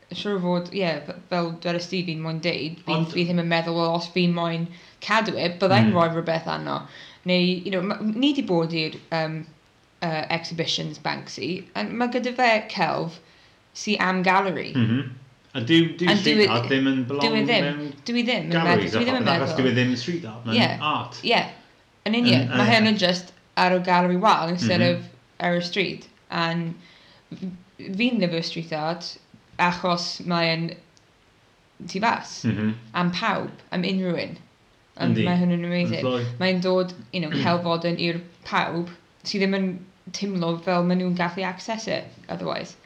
Speaker 2: siwr o fod, ie, yeah, fel dweud ysdi fi'n moyn deud,
Speaker 1: Ond-
Speaker 2: bydd fi ddim yn meddwl, well, os fi'n moyn cadw e, byddai'n
Speaker 1: Mm.
Speaker 2: rhoi rhywbeth arno. Neu, you know, ma- ni di bod i'r um, uh, exhibitions Banksy, a mae gyda fe celf sy am gallery.
Speaker 1: Mhm. A dyw, dyw
Speaker 2: And dyw
Speaker 1: street
Speaker 2: i-
Speaker 1: art ddim yn belong
Speaker 2: Dyw e ddim,
Speaker 1: mewn
Speaker 2: dyw i ddim, yn meddwl-
Speaker 1: galleries a
Speaker 2: dyw i ddim yn
Speaker 1: phopeth, achos dyw
Speaker 2: meddwl.
Speaker 1: e ddim street art, mae'n
Speaker 2: Ie.
Speaker 1: art.
Speaker 2: Yeah, yn union.
Speaker 1: Yn-
Speaker 2: Mae
Speaker 1: yn-
Speaker 2: hyn yn just ar y gallery wal instead
Speaker 1: Mhm.
Speaker 2: of ar y street. And f- fi'n lyfio street art achos mae'n tu fas
Speaker 1: Mhm.
Speaker 2: am pawb, am unrhyw un. And
Speaker 1: Yndi.
Speaker 2: mae hyn
Speaker 1: Yn
Speaker 2: yn amazing.
Speaker 1: llwy.
Speaker 2: Mae'n dod, you know, celfodyn i'r pawb sydd ddim yn teimlo fel maen nhw'n gallu access it otherwise.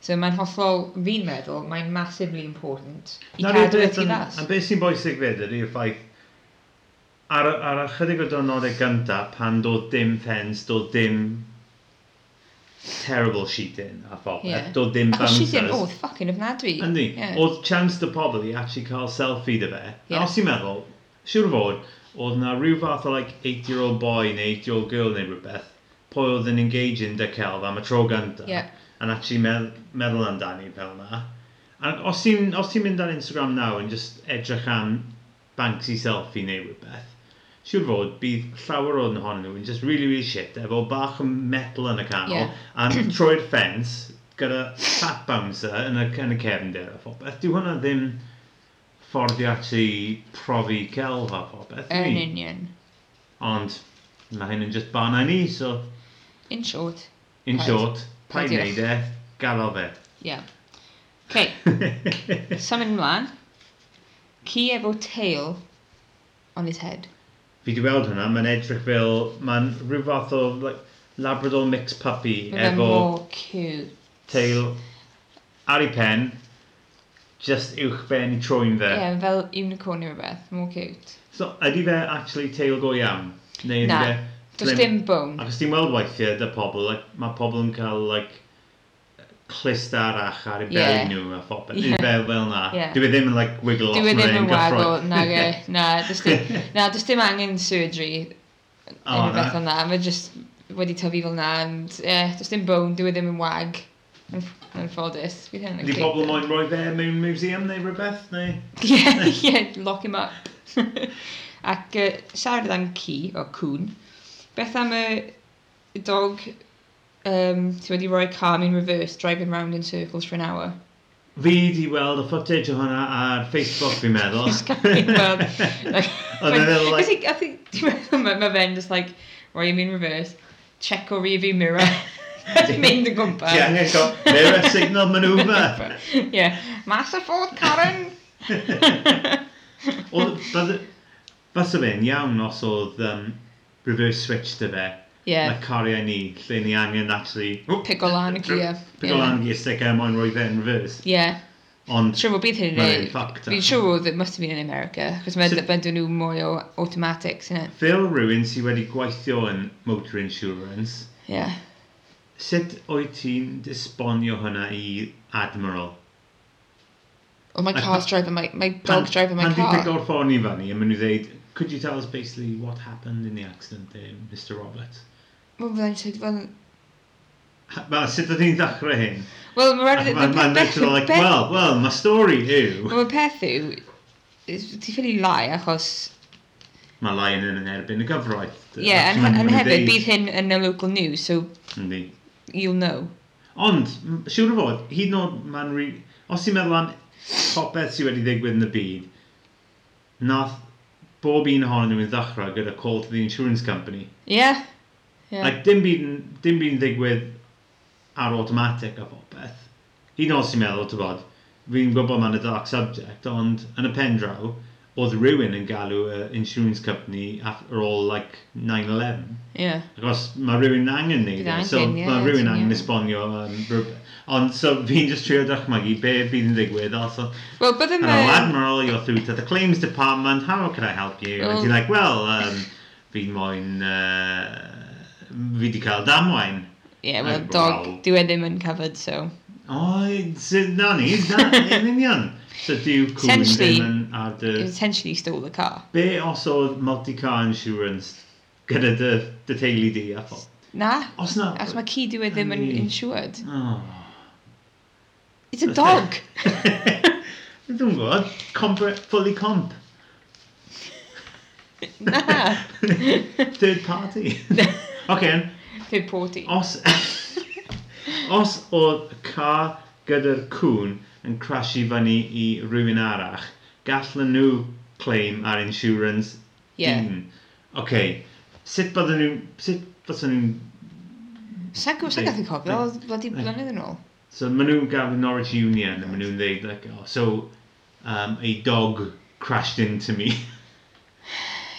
Speaker 2: So mae'n hollol, fi'n meddwl, mae'n massively important i
Speaker 1: Nawr,
Speaker 2: cadw y
Speaker 1: beth
Speaker 2: tu
Speaker 1: yn-
Speaker 2: fas.
Speaker 1: A beth sy'n bwysig fyd ydy'r ffaith ar, ar ychydig o dynodau gyntaf pan doedd dim ffens, doedd dim terrible sheet in a phopeth,
Speaker 2: Ie.
Speaker 1: doedd dim
Speaker 2: Achos
Speaker 1: bouncers.
Speaker 2: she didn't, oh, ffucking ofnadwy.
Speaker 1: Yndi,
Speaker 2: Yeah.
Speaker 1: oedd chance dy pobl i actually cael selfie dy fe.
Speaker 2: Ie.
Speaker 1: Yeah. Os i'n meddwl, siwr o fod, oedd na rhyw fath o like 8-year-old boy neu 8-year-old girl neu rhywbeth, pwy oedd yn engage yn dy celf am y tro gynta,
Speaker 2: Ie.
Speaker 1: and actually medd meddwl amdani fel na. A os ti'n os ti'n mynd ar Instagram naw yn just edrych am Banksy selfie neu rhywbeth, siwr o fod bydd llawer o'n ohonyn nhw yn just really, really shit, efo bach o metal yn y canol,
Speaker 2: Ie.
Speaker 1: a troi'r ffens gyda fat bouncer yn y, yn y cefndir a phobeth. Dyw hwnna ddim ffordd i actually profi celf a phobeth.
Speaker 2: Yn union.
Speaker 1: Ond mae hyn yn just barna ni, so
Speaker 2: In short,
Speaker 1: in
Speaker 2: Paid.
Speaker 1: short, paid
Speaker 2: Paid i
Speaker 1: neud e, garo fe.
Speaker 2: yeah. Okay, symud ymlaen. Ci efo tail on his head.
Speaker 1: Fi di weld hwnna, mae'n edrych fel, mae'n rhyw fath o like, Labrador mixed puppy
Speaker 2: Mae fe'n
Speaker 1: efo
Speaker 2: mor cute.
Speaker 1: teil uh, ar ei pen, just uwch ben i troi'n fe.
Speaker 2: Ie, yeah, fel unicorn neu rhywbeth, mor cute.
Speaker 1: So, ydy fe actually teil go iawn? Neu ydy
Speaker 2: Na,
Speaker 1: fe...
Speaker 2: Does
Speaker 1: flim-
Speaker 2: dim bone.
Speaker 1: Ac os ti'n weld weithiau dy pobl, like, mae pobl yn cael like, clist arach ar eu
Speaker 2: Ie.
Speaker 1: beli nhw a phobeth.
Speaker 2: Ie.
Speaker 1: Yeah. Fel, fel na.
Speaker 2: Ie.
Speaker 1: Dwi ddim yn like, wiggle
Speaker 2: Dwi
Speaker 1: off
Speaker 2: ddim yn wago,
Speaker 1: gyffroi.
Speaker 2: nag e. Na, does dim, na, does dim angen surgery
Speaker 1: O,
Speaker 2: neu rhywbeth
Speaker 1: na.
Speaker 2: fel na. Mae just wedi tyfu fel na, and yeah, does dim bone, dwi ddim yn wag. Yn yn ffodus. Bydd hynna'n
Speaker 1: Ydy
Speaker 2: cute.
Speaker 1: pobl moyn roi fe mewn museum neu rhywbeth? Neu?
Speaker 2: yeah, yeah, lock him up. Ac uh, siarad am ci, o cwn, beth am y y dog um, ti wedi rhoi car in reverse, driving round in circles for an hour?
Speaker 1: Fi di weld y footage o hwnna ar Facebook, fi'n meddwl.
Speaker 2: Wel, like,
Speaker 1: Ond yn fel,
Speaker 2: I
Speaker 1: like,
Speaker 2: think, I think, ti'n meddwl, mae ma fe'n just like, rhoi him in reverse, check o rearview mirror, a mynd yn gwmpas.
Speaker 1: ti angen go, mirror signal manoeuvre.
Speaker 2: yeah, master Ford Karen!
Speaker 1: Oedd, bydde- Fysa fe'n iawn os oedd um, reverse switch dy fe.
Speaker 2: yeah,
Speaker 1: Mae cariau ni, lle ni angen actually... Oh,
Speaker 2: pick o lan y gia.
Speaker 1: Pigo lan i stick e, mae'n rhoi fe yn reverse.
Speaker 2: Yeah.
Speaker 1: Ond,
Speaker 2: Siwr bod bydd hyn
Speaker 1: Right,
Speaker 2: yn
Speaker 1: fuck that.
Speaker 2: Fi'n siŵr oedd it must have been in America, achos mae'n
Speaker 1: So-
Speaker 2: dibynnu nhw mwy o automatics, yna.
Speaker 1: fel rhywun sydd wedi gweithio yn motor insurance,
Speaker 2: Yeah.
Speaker 1: sut oedd ti'n disbonio hwnna i Admiral?
Speaker 2: Or my
Speaker 1: Like,
Speaker 2: car's driving my, my dog's driving my
Speaker 1: pan ti'n
Speaker 2: car.
Speaker 1: pigo'r ffôn i fyny, a maen nhw dweud, could you tell us basically what happened in the accident there, Mr Robert?
Speaker 2: Wel, fydda i'n siarad fel...
Speaker 1: Wel, sut ydyn ni'n ddechrau hyn?
Speaker 2: Wel, mae'n rhaid...
Speaker 1: Mae'n ma literal like, well, well, my story yw...
Speaker 2: Mae'n peth yw, is- ti'n ffili lai achos...
Speaker 1: Mae Lion yn yn erbyn y gyfraith.
Speaker 2: Ie, yeah, yn hefyd, bydd hyn yn y local news, so
Speaker 1: Yndi.
Speaker 2: you'll know.
Speaker 1: Ond, m- siŵr o fod, hyd yn oed mae'n rhi... Os ti'n meddwl am popeth sydd wedi ddigwydd yn y byd, nath bob un ohonyn nhw'n ddechrau gyda call to the insurance company.
Speaker 2: Ie. Yeah.
Speaker 1: Yeah.
Speaker 2: Yeah.
Speaker 1: Like, dim byd, yn- dim byd yn ddigwydd ar automatic a popeth. Hyd yn oed os ti'n meddwl, ti'n bod, fi'n gwybod mae'n a dark subject, ond yn y pen draw, oedd rhywun yn galw y insurance company after all, like, 9-11.
Speaker 2: yeah.
Speaker 1: Achos mae rhywun angen neud
Speaker 2: Bydd
Speaker 1: e,
Speaker 2: angen,
Speaker 1: so
Speaker 2: ie,
Speaker 1: mae rhywun
Speaker 2: ti'n
Speaker 1: angen
Speaker 2: iawn.
Speaker 1: esbonio um, rhywbeth. Ond so fi'n just trio dychmygu be bydd yn digwydd os o-
Speaker 2: Wel, bydde
Speaker 1: Hello
Speaker 2: mae...
Speaker 1: Admiral, you're through to the claims department, how can I help you? And
Speaker 2: Wel-
Speaker 1: you're like, well, um, fi moyn, uh, fi di cael damwain.
Speaker 2: Ie, wel,
Speaker 1: Wel-
Speaker 2: dog, dyw e ddim yn covered, so...
Speaker 1: O, so na ni, na, yn union. So diw cwn
Speaker 2: Essentially,
Speaker 1: ddim yn ar dy...
Speaker 2: He potentially stole the car.
Speaker 1: Be os oedd multi-car insurance gyda dy, dy teulu di a phob?
Speaker 2: Na,
Speaker 1: Os na...
Speaker 2: achos mae ci dyw e ddim yn
Speaker 1: Ynni.
Speaker 2: insured.
Speaker 1: Oh.
Speaker 2: It's a dog!
Speaker 1: Dwi'n gwybod, comp, fully comp.
Speaker 2: Na!
Speaker 1: Third party. OK,
Speaker 2: Third party.
Speaker 1: os... os oedd y car gyda'r cwn yn crashu fyny i rhywun arall, gallen nhw claim ar insurance
Speaker 2: Ie.
Speaker 1: un. OK, sut bydden nhw... Sut bydden nhw...
Speaker 2: Sa'n gwybod, sa'n gallu cofio, oedd bloody
Speaker 1: Ie.
Speaker 2: blynedd yn ôl.
Speaker 1: So maen nhw'n gael Norwich Union a maen nhw'n dweud, like, oh, so um, a dog crashed into me.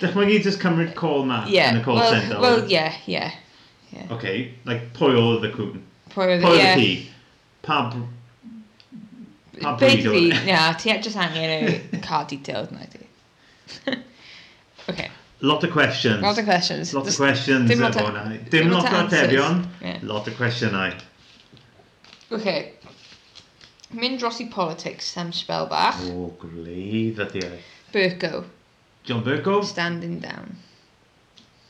Speaker 1: Dychmygu just cymryd call ma
Speaker 2: Ie,
Speaker 1: yn y call
Speaker 2: wel,
Speaker 1: centre. e?
Speaker 2: wel, ie, ie.
Speaker 1: Okay, like pwy oedd y cwn?
Speaker 2: Pwy oedd e?
Speaker 1: Pwy oedd y
Speaker 2: ie.
Speaker 1: ci? Pa, br- pa bryd
Speaker 2: Basically,
Speaker 1: oedd e?
Speaker 2: na, ti just angen y car details na ti. okay,
Speaker 1: Lot o questions.
Speaker 2: lot of questions.
Speaker 1: Lot o
Speaker 2: Just-
Speaker 1: questions
Speaker 2: dim lot o-
Speaker 1: efo hwnna. Dim lot o
Speaker 2: answers.
Speaker 1: atebion.
Speaker 2: Ie.
Speaker 1: Lot o cwestiynau.
Speaker 2: Okay. Mynd dros i politics am spel bach.
Speaker 1: O, gwlydd ydi e.
Speaker 2: Burko,
Speaker 1: John Burko,
Speaker 2: standing down.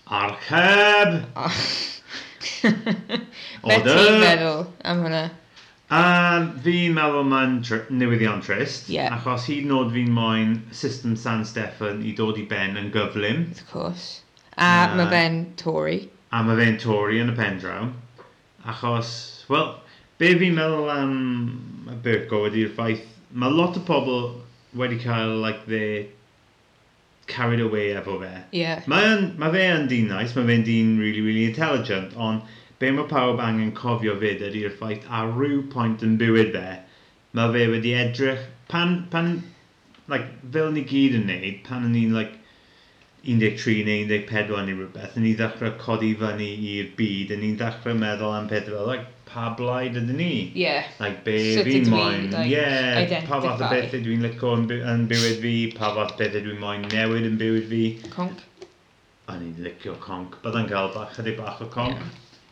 Speaker 1: archeb,
Speaker 2: O. Be ti'n
Speaker 1: order.
Speaker 2: meddwl am hwnna?
Speaker 1: Um, fi'n meddwl mae'n tr- newyddion trist,
Speaker 2: Ie.
Speaker 1: achos hyd yn oed fi'n moyn system San Steffan i dod i ben yn gyflym,
Speaker 2: Of course. A
Speaker 1: Na.
Speaker 2: mae fe'n Tory.
Speaker 1: a mae fe'n Tory yn y pen draw, achos, wel, be fi'n meddwl am y Birko ydy'r ffaith, mae lot o pobl wedi cael, like, they carried away efo fe.
Speaker 2: Ie.
Speaker 1: Mae yn- mae fe yn dyn nice, mae fe'n dyn really, really intelligent, ond be mae pawb angen cofio fyd ydy'r ffaith ar rhyw pwynt yn bywyd fe, mae fe wedi edrych, pan, pan, like, fel ni gyd yn neud, pan o'n i'n, like, 13 neu 14 neu rhywbeth, yn i ddechrau codi fyny i'r byd, yn i'n ddechrau meddwl am pethau fel, like, pa blaid ydyn ni?
Speaker 2: Ie.
Speaker 1: Like, be
Speaker 2: Sut
Speaker 1: fi'n
Speaker 2: ydw i,
Speaker 1: moyn,
Speaker 2: like,
Speaker 1: ie, pa fath o
Speaker 2: identify?
Speaker 1: bethau dwi'n licio yn, by- yn bywyd fi, pa fath bethau dwi'n moyn newid yn bywyd fi.
Speaker 2: Conc.
Speaker 1: O'n i'n licio conc. Byddai'n cael bach, chydig bach o conc.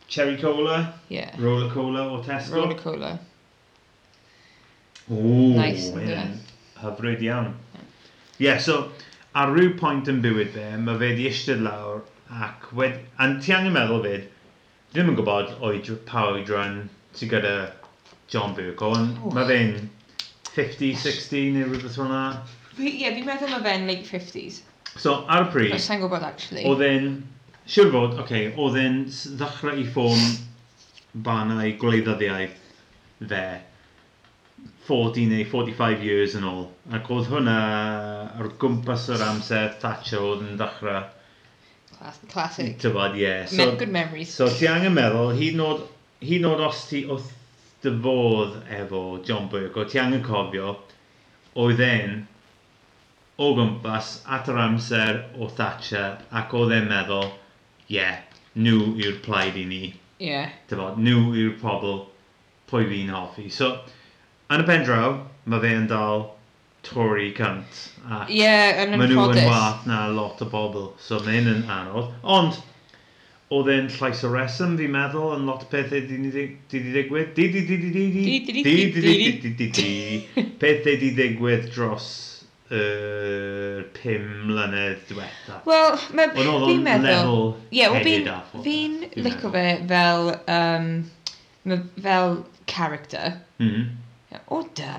Speaker 1: Cherry cola,
Speaker 2: Ie.
Speaker 1: roller cola o Tesco.
Speaker 2: Roller cola.
Speaker 1: Ooh,
Speaker 2: Nice,
Speaker 1: hyn
Speaker 2: yndyfe?
Speaker 1: yn hyfryd iawn. Ie, yeah, so ar ryw pwynt yn bywyd fe, mae fe di eistedd lawr ac wed... A'n ti angen meddwl fyd, ddim yn gwybod oed pa oedran sy gyda John Burko, ond
Speaker 2: Oh.
Speaker 1: mae fe'n 50, 60 neu rhywbeth fel 'na.
Speaker 2: Fi- Ie, fi'n meddwl mae fe'n late 50s.
Speaker 1: So ar y pryd,
Speaker 2: Os sa'n gwybod, actually.
Speaker 1: Oedd e'n, siwr fod, oce, okay, oedd e'n s- ddechrau i ffôn banau gwleidyddiaeth fe 40 neu 45 years yn ôl. Ac oedd hwnna ar gwmpas yr amser Thatcher oedd yn ddechrau.
Speaker 2: Class- Classic.
Speaker 1: Tybod, ie. Yeah. e- Mm.
Speaker 2: Me-
Speaker 1: So,
Speaker 2: Good memories.
Speaker 1: so ti angen meddwl, hyd yn oed, hyd yn oed os ti wrth dy fodd efo John Burke, o ti angen cofio, oedd e'n o gwmpas at yr amser o Thatcher ac oedd e'n meddwl, ie, yeah, nhw yw'r plaid i ni,
Speaker 2: Ie.
Speaker 1: dyfod, nhw yw'r pobl pwy fi'n hoffi. So, yn y pen draw, mae fe yn dal Tory cunt. Ac
Speaker 2: Ie, yn
Speaker 1: Maen nhw yn
Speaker 2: anffodus.
Speaker 1: wath na lot o bobl, so mae hyn yn anodd. Ond, oedd e'n llais o reswm, fi'n meddwl, yn lot o pethau di di di digwydd. Di di di di di di
Speaker 2: Di-
Speaker 1: di
Speaker 2: di- di-
Speaker 1: di di di di di Pethau di digwydd dros yr pum mlynedd diwetha.
Speaker 2: Wel, mae
Speaker 1: Ond oedd
Speaker 2: fi'n
Speaker 1: o'n
Speaker 2: meddwl...
Speaker 1: level
Speaker 2: Ie, wel
Speaker 1: headed
Speaker 2: fi'n
Speaker 1: off o-
Speaker 2: fi'n
Speaker 1: fi'n
Speaker 2: licio
Speaker 1: meddwl.
Speaker 2: fe fel um, Mae fel character.
Speaker 1: Mm.
Speaker 2: O da.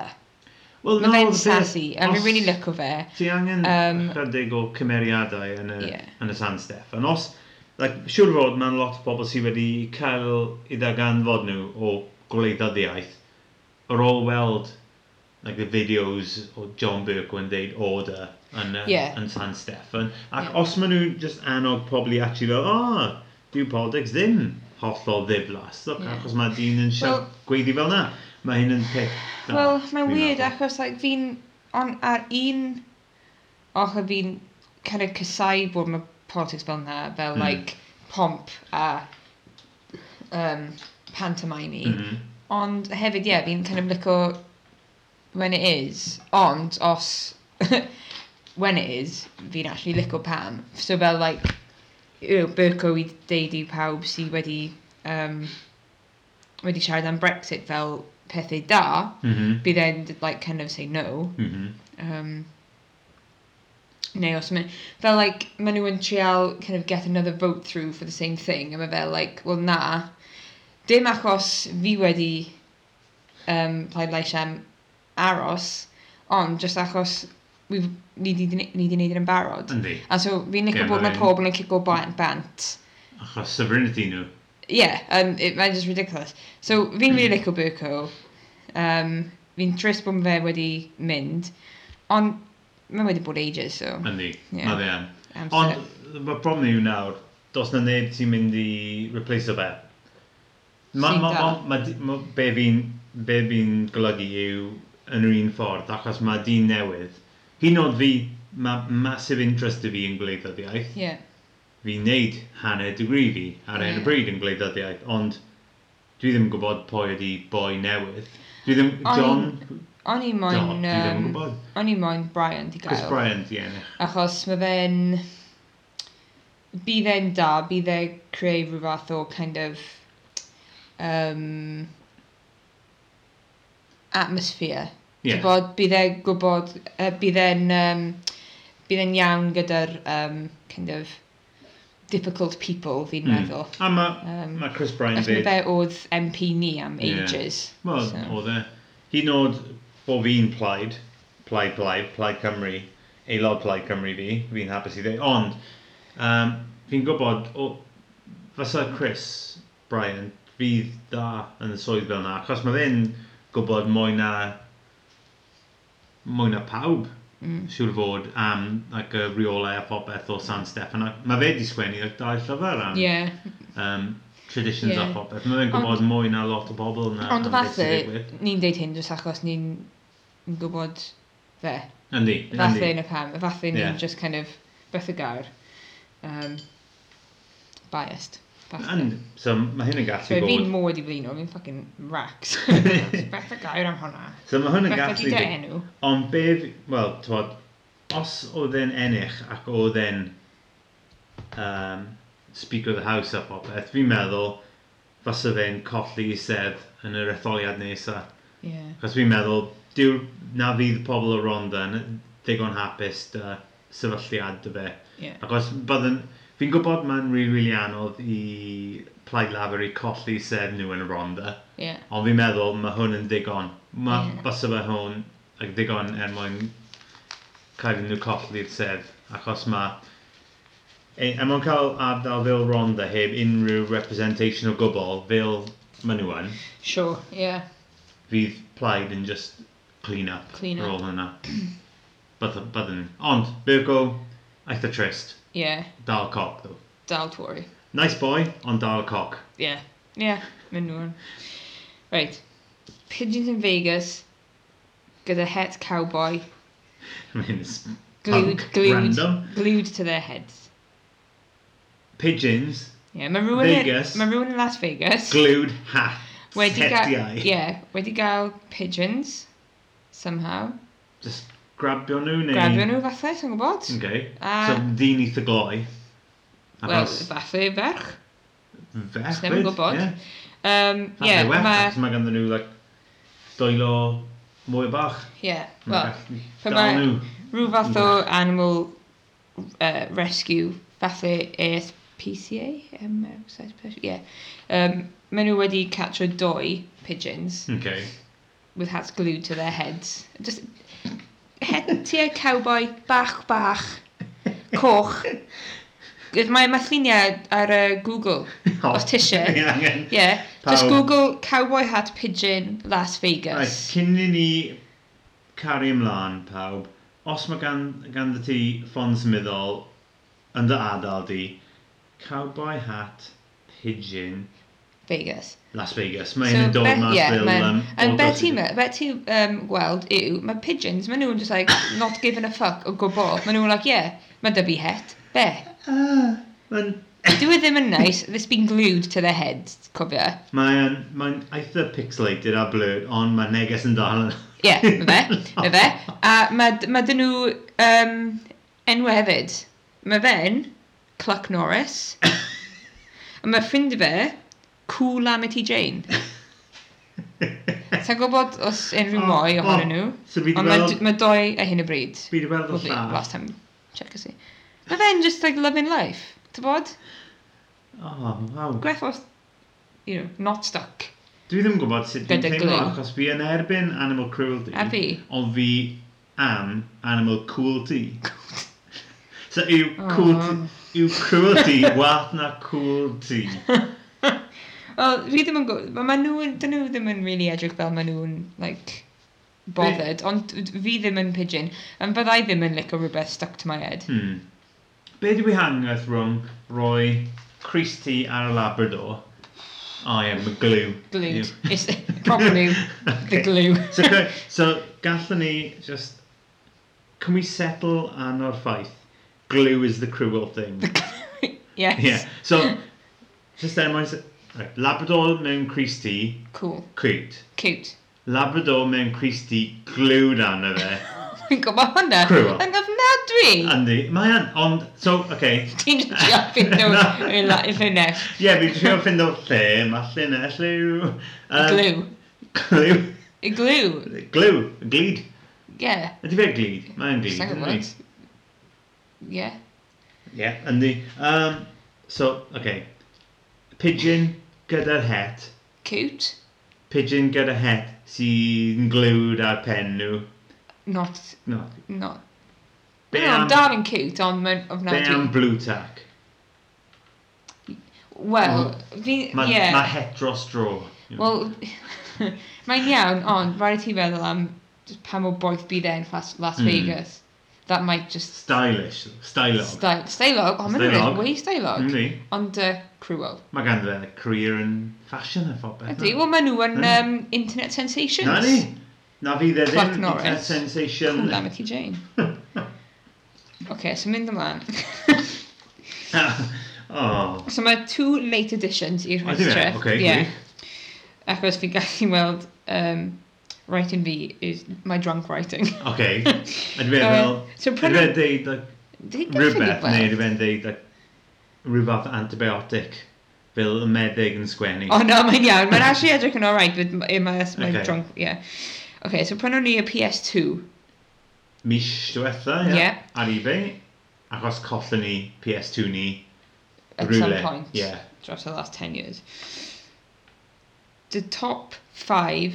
Speaker 1: Wel,
Speaker 2: Mae fe'n
Speaker 1: the thing-
Speaker 2: sassy. A
Speaker 1: os
Speaker 2: fi'n really lyco fe.
Speaker 1: Ti angen um,
Speaker 2: Yym,
Speaker 1: rhedeg o cymeriadau yn y,
Speaker 2: Ie.
Speaker 1: yn y San Steffan. Os, like, siwr o fod mae'n lot o bobl sydd wedi cael i ddarganfod nhw o gwleidyddiaeth ar ôl weld like, the videos o John Burke yn deud order yn, uh,
Speaker 2: Ie.
Speaker 1: yn San Steffan. Ac
Speaker 2: Ie.
Speaker 1: os maen nhw just annog pobl i actually fel, ah, dyw Poldex ddim hollol ddiflas. Look,
Speaker 2: Ie.
Speaker 1: achos mae dyn yn well,
Speaker 2: Wel-
Speaker 1: gweiddi fel na. Mae hyn yn peth. da,
Speaker 2: Wel, mae'n
Speaker 1: dwi'n
Speaker 2: weird
Speaker 1: meddwl.
Speaker 2: achos like, fi'n... On, ar un ochr fi'n kind of casau bod mae politics fel na, fel
Speaker 1: Mm.
Speaker 2: like pomp a um, pantomime.
Speaker 1: Mhm.
Speaker 2: Ond hefyd, ie, yeah, fi'n kind of lyco when it is. Ond os when it is, fi'n actually lyco pam. So fel, like, yw, Byrco i deud i pawb sydd wedi, um, wedi siarad am Brexit fel pethau da,
Speaker 1: Mhm.
Speaker 2: bydd e'n, like, kind of say no.
Speaker 1: Mhm.
Speaker 2: Um, neu os mae... Fel, like, maen nhw yn trial kind of get another vote through for the same thing. A mae fel, like, well, na. Dim achos fi wedi um, plaid lais am aros, ond just achos we ni di ni di neud yn barod.
Speaker 1: Yndi.
Speaker 2: A so fi'n
Speaker 1: Mm. Ie,
Speaker 2: nicio bod
Speaker 1: ma'
Speaker 2: mae
Speaker 1: fe'n-
Speaker 2: pobl yn cico bant bant.
Speaker 1: Achos sovereignty nhw.
Speaker 2: Yeah, um, it, mae'n just ridiculous. So fi'n really licio Burko. Um, fi'n trist bod fe wedi mynd, ond mae wedi bod ages, so...
Speaker 1: Yndi,
Speaker 2: Ie.
Speaker 1: mae fe yn.
Speaker 2: Amser.
Speaker 1: Ond, y problem yw nawr, dos na neb ti'n mynd i replace o fe. Mae
Speaker 2: Sy'n
Speaker 1: ma, ma,
Speaker 2: da.
Speaker 1: ma, di- ma, be fi'n be fi'n golygu yw yn yr un ffordd, achos mae dyn newydd. Hyd yn oed fi, mae massive interest i fi yn gwleidyddiaeth.
Speaker 2: Yeah.
Speaker 1: Fi'n neud hanner degree fi ar hyn
Speaker 2: Ie.
Speaker 1: y bryd yn gwleidyddiaeth, ond dwi ddim yn gwybod pwy ydi boi newydd. Dwi ddim,
Speaker 2: Ond-
Speaker 1: John,
Speaker 2: O'n i
Speaker 1: John,
Speaker 2: moyn...
Speaker 1: dwi ddim yn
Speaker 2: Um,
Speaker 1: gwybod.
Speaker 2: o'n i moyn Brian di
Speaker 1: Chris
Speaker 2: gael.
Speaker 1: Bryant i ennill.
Speaker 2: Achos mae fe'n... Bydd e'n da, bydd e creu rhyw fath o kind of... Um, atmosphere.
Speaker 1: Ie.
Speaker 2: Yeah. Bod, bydd e'n gwybod... Uh, bydd e'n... Um, bydd e'n iawn gyda'r um, kind of difficult people fi'n
Speaker 1: Mm.
Speaker 2: meddwl.
Speaker 1: A mae
Speaker 2: Um,
Speaker 1: ma Chris Bryant
Speaker 2: Achos mae
Speaker 1: dweud,
Speaker 2: fe oedd MP ni am
Speaker 1: Ie.
Speaker 2: ages.
Speaker 1: Wel,
Speaker 2: So.
Speaker 1: oedd e. Hyd yn oed bob un plaid, plaid plaid, plaid Cymru, aelod plaid Cymru fi, fi'n hapus i ddweud. Ond, um, fi'n gwybod, o, fysa Chris Bryan fydd da yn y swydd fel yna, achos mae fe'n gwybod mwy na, mwy na pawb
Speaker 2: Mm.
Speaker 1: siŵr fod am like, y rheolau a phobeth o San Steffan. ac Mae fe wedi sgwennu like, dau llyfr am
Speaker 2: Yeah.
Speaker 1: um, traditions
Speaker 2: Ie.
Speaker 1: a phobeth. Mae fe'n gwybod mwy na lot o bobl na
Speaker 2: Ond
Speaker 1: am beth sy'n
Speaker 2: falle,
Speaker 1: digwydd.
Speaker 2: ni'n deud hyn jyst achos ni'n ni'n gwybod fe.
Speaker 1: Yndi,
Speaker 2: Falle
Speaker 1: yndi.
Speaker 2: yn y pam. Falle ni'n
Speaker 1: Ie.
Speaker 2: just kind of bythygar. Um, biased. Falle.
Speaker 1: And, so mae hyn yn gallu
Speaker 2: So fi'n
Speaker 1: bod...
Speaker 2: mwy di blino, fi'n fucking rax. Bythygar am hwnna.
Speaker 1: So mae hwn yn
Speaker 2: Bythygar
Speaker 1: gallu
Speaker 2: di dy
Speaker 1: bod...
Speaker 2: enw.
Speaker 1: Ond be... Wel, tywod, os oedd e'n ennill ac oedd e'n um, Speaker of the House a phobeth, fi'n meddwl fysa fe'n colli i sedd yn yr etholiad nesaf.
Speaker 2: Yeah.
Speaker 1: Chos fi'n meddwl, dyw na fydd pobl o Ronda yn ddigon hapus dy sefylliad dy fe.
Speaker 2: Yeah.
Speaker 1: Ac os byddwn... Fi'n gwybod mae'n rili, really, really anodd i plaid lafur i colli sef nhw yn y ronda.
Speaker 2: Yeah.
Speaker 1: Ond fi'n meddwl mae hwn yn ddigon. Mae
Speaker 2: Ie.
Speaker 1: yeah. bys yma hwn ac ddigon er mwyn cael nhw colli'r sef. Achos mae... E, er mwyn cael ardal fel ronda heb unrhyw representation o gwbl fel maen nhw yn,
Speaker 2: Sure. Yeah.
Speaker 1: fydd plaid yn just clean up.
Speaker 2: Clean
Speaker 1: ar
Speaker 2: up.
Speaker 1: ôl hwnna. Bydd- Byddwn. Ond, Virgo, eitha trist.
Speaker 2: Yeah.
Speaker 1: Dal cop, though.
Speaker 2: Dal Tory.
Speaker 1: Nice boy, ond dal coc.
Speaker 2: Yeah. Yeah. Mynd nhw'n. Right. Pigeons in Vegas. Gyda het cowboy.
Speaker 1: I mean, it's
Speaker 2: glued,
Speaker 1: Punk,
Speaker 2: glued,
Speaker 1: random.
Speaker 2: glued to their heads.
Speaker 1: pigeons,
Speaker 2: Yeah, mae rhywun,
Speaker 1: Vegas.
Speaker 2: yn- mae rhywun yn Las Vegas
Speaker 1: glued hat,
Speaker 2: wedi gael,
Speaker 1: setiau.
Speaker 2: yeah, wedi gael pigeons, somehow.
Speaker 1: Mm. Just grabio nhw neu...
Speaker 2: Grabio nhw falle, sy'n gwybod?
Speaker 1: Okay. so,
Speaker 2: A,
Speaker 1: dyn eitha gloi.
Speaker 2: wel, falle ferch.
Speaker 1: fech.
Speaker 2: Sneb yn gwybod. Um, yeah, mae,
Speaker 1: Mae ma ganddyn nhw, like, doelo mwy bach.
Speaker 2: yeah,
Speaker 1: Ma'
Speaker 2: well,
Speaker 1: gallu
Speaker 2: pe
Speaker 1: dal
Speaker 2: ma-
Speaker 1: nhw.
Speaker 2: rhyw fath o animal uh, rescue, falle ASP PCA? Um, exercise pers- yeah. Um, maen nhw wedi catro doi pigeons
Speaker 1: Okay.
Speaker 2: with hats glued to their heads. Just hetiau cowboy bach bach coch. Mae ma lluniau ar uh, Google, os ti
Speaker 1: Ie,
Speaker 2: eisiau.
Speaker 1: angen.
Speaker 2: Yeah, just
Speaker 1: Pawb.
Speaker 2: Google cowboy hat pigeon Las
Speaker 1: Right,
Speaker 2: Vegas.
Speaker 1: cyn i ni cario ymlaen pawb, os mae gan, ganddo ti ffôn symudol yn dy ardal di, Cowboy Hat Pigeon
Speaker 2: Vegas.
Speaker 1: Las Vegas. Mae hyn yn dod
Speaker 2: be-
Speaker 1: mas
Speaker 2: yeah,
Speaker 1: fel...
Speaker 2: ma'n-
Speaker 1: um,
Speaker 2: and
Speaker 1: order
Speaker 2: be
Speaker 1: to-
Speaker 2: ti'n me- be ti, um, gweld yw, mae pigeons, maen nhw'n just like, not giving a fuck o gwbl. Maen nhw'n like, yeah, mae dyfu het. Be?
Speaker 1: Ah, Mae'n
Speaker 2: Dyw e ddim yn nice, this been glued to their heads, cofio.
Speaker 1: mae'n mae eitha pixelated a blurred, ond mae neges yn dal yn...
Speaker 2: Ie, mae fe, mae fe. A mae, d- mae dyn nhw um, enw hefyd. Mae fe'n Cluck Norris. a mae ffrind fe, Cool Amity Jane. Sa'n gwybod os unrhyw
Speaker 1: O,
Speaker 2: mwy
Speaker 1: o,
Speaker 2: ohonyn nhw.
Speaker 1: So fi
Speaker 2: Ond
Speaker 1: wedi
Speaker 2: mae
Speaker 1: weld...
Speaker 2: d- mae doi a hyn y bryd.
Speaker 1: Fi wedi weld y
Speaker 2: Probably
Speaker 1: llath.
Speaker 2: last time check us i. Mae fe'n just like loving life. Ti'n bod?
Speaker 1: Oh, waw.
Speaker 2: Gweth os, you know, not stuck.
Speaker 1: Dwi ddim yn gwybod sut dwi'n
Speaker 2: Gyda
Speaker 1: teimlo,
Speaker 2: glue.
Speaker 1: achos fi yn erbyn animal cruelty.
Speaker 2: A fi?
Speaker 1: Ond fi am animal cruelty. so yw
Speaker 2: Oh.
Speaker 1: cruelty, yw cruelty wath na cruelty.
Speaker 2: Wel, fi ddim yn gwybod, mae nhw, yn- dyn nhw ddim yn really edrych fel maen nhw'n, like, bothered, ond d- fi ddim yn pigeon, and byddai ddim yn licio rhywbeth stuck to my head.
Speaker 1: Hmm. Be di wahaniaeth rhwng roi Christy ar y Labrador? O ie, mae glue.
Speaker 2: Glued.
Speaker 1: Yw.
Speaker 2: It's probably the
Speaker 1: Okay.
Speaker 2: glue.
Speaker 1: so, ca- so gallwn ni just... Can we settle an o'r ffaith? Glue is the cruel thing.
Speaker 2: yes.
Speaker 1: Yeah. So, just then, mine's right, Labrador mewn Christy,
Speaker 2: Cool.
Speaker 1: cwt.
Speaker 2: Cute.
Speaker 1: Labrador mewn Christy, glued arno fe.
Speaker 2: Fi'n gwybod hwnna.
Speaker 1: Cruel.
Speaker 2: Yn ofnadwy.
Speaker 1: Andy, mae an, ond, so, okay.
Speaker 2: Ti'n jaffi nhw
Speaker 1: Na.
Speaker 2: i'r la- i'r llinell.
Speaker 1: Ie, yeah, fi'n trio ffind o lle, uh, mae llinell yw... Um,
Speaker 2: Glue.
Speaker 1: Glw.
Speaker 2: Y glue.
Speaker 1: Glw. Glid.
Speaker 2: Yeah.
Speaker 1: Ydy fe glid? Mae'n glid.
Speaker 2: Sa'n gwybod. Yeah.
Speaker 1: Ie, yndi. Um, so, okay. Pigeon gyda'r het.
Speaker 2: Cute.
Speaker 1: Pigeon gyda het sy'n glwed ar pen nhw.
Speaker 2: Not,
Speaker 1: No.
Speaker 2: not.
Speaker 1: Be
Speaker 2: no,
Speaker 1: am-
Speaker 2: am... dal yn cute, ond mae'n
Speaker 1: Be
Speaker 2: ofnadwy.
Speaker 1: am blue tack?
Speaker 2: Wel, fi,
Speaker 1: Mae
Speaker 2: ie.
Speaker 1: yeah. ma het dros dro. you know.
Speaker 2: Wel, mae'n iawn, ond rhaid i ti feddwl am just pa mor boeth bydd e'n Las, Las
Speaker 1: Mm.
Speaker 2: Vegas. That might just...
Speaker 1: Stylish. Stylog.
Speaker 2: Sty- Staelog? O, mae'n
Speaker 1: Staelog.
Speaker 2: rhaid wei staelog.
Speaker 1: Yndi.
Speaker 2: Ond uh, cruel.
Speaker 1: Mae ganddo fe career yn fashion a phobeth.
Speaker 2: Ydy, wel maen nhw yn
Speaker 1: Mm.
Speaker 2: um, internet sensations.
Speaker 1: Na ni. Na fi dde
Speaker 2: Clark
Speaker 1: ddim.
Speaker 2: Norris.
Speaker 1: Internet sensation.
Speaker 2: Cool Amity Jane. OK, so mynd ymlaen.
Speaker 1: oh.
Speaker 2: so mae two late additions i'r
Speaker 1: Ydy fe?
Speaker 2: rhestr.
Speaker 1: Oce,
Speaker 2: Ie.
Speaker 1: gwych.
Speaker 2: Achos fi gallu weld um, writing fi is my drunk writing.
Speaker 1: Oce. Ydy fe
Speaker 2: Uh,
Speaker 1: fel...
Speaker 2: so
Speaker 1: Ydy
Speaker 2: prynu-
Speaker 1: fe deud like,
Speaker 2: Dwi- dwi ffili
Speaker 1: rhywbeth
Speaker 2: gweld.
Speaker 1: neu ydy fe'n deud like, rhywbeth antibiotic fel y meddyg yn sgwennu.
Speaker 2: O na, mae'n iawn. Mae'n actually edrych yn alright, but my, my, my
Speaker 1: Okay.
Speaker 2: drunk, yeah. Okay, so prynon ni y PS2.
Speaker 1: Mis diwetha, ie.
Speaker 2: Ie.
Speaker 1: Ar ebay. Achos collon ni PS2 ni.
Speaker 2: At
Speaker 1: rywle.
Speaker 2: some point.
Speaker 1: Ie.
Speaker 2: Dros the last 10 years. The top 5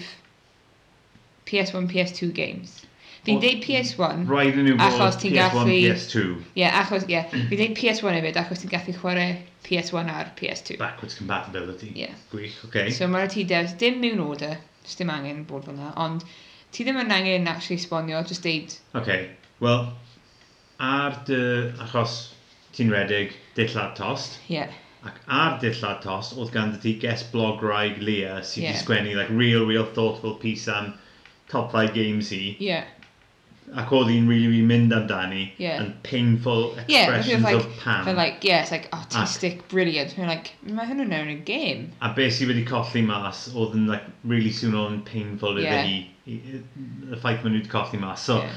Speaker 2: PS1, PS2 games. Fi'n
Speaker 1: O-
Speaker 2: deud PS1.
Speaker 1: Rhaid yn nhw bod
Speaker 2: Achos ti'n
Speaker 1: PS1,
Speaker 2: gallu-
Speaker 1: PS2.
Speaker 2: Ie, yeah, achos, ie. Yeah. Fi'n deud PS1 hefyd, achos ti'n gallu chwarae PS1 ar PS2.
Speaker 1: Backwards compatibility.
Speaker 2: Ie.
Speaker 1: Gwych, oce.
Speaker 2: So mae'r ti dews dim mewn order, just dim angen bod fel na, ond ti ddim yn angen actually sbonio, just deud,
Speaker 1: OK, wel, ar dy... Achos ti'n redig dillad tost,
Speaker 2: ie, yeah,
Speaker 1: ac ar dillad tost, oedd gan ti guest blog rhaeg Leah sydd wedi
Speaker 2: Ie.
Speaker 1: sgwennu like, real, real thoughtful piece am top 5 games i,
Speaker 2: ie. Yeah.
Speaker 1: ac oedd hi'n really, really mynd amdani
Speaker 2: Ie.
Speaker 1: yn painful
Speaker 2: Yeah, but
Speaker 1: expressions
Speaker 2: like-
Speaker 1: of pan.
Speaker 2: For like, yeah, it's like artistic, brilliant. We're like, mae hwn yn newn y game.
Speaker 1: A beth sydd wedi colli mas oedd yn like, really soon o'n painful iddi
Speaker 2: Ie.
Speaker 1: hi, i- i- y ffaith maen nhw wedi colli mas. So,
Speaker 2: Ie.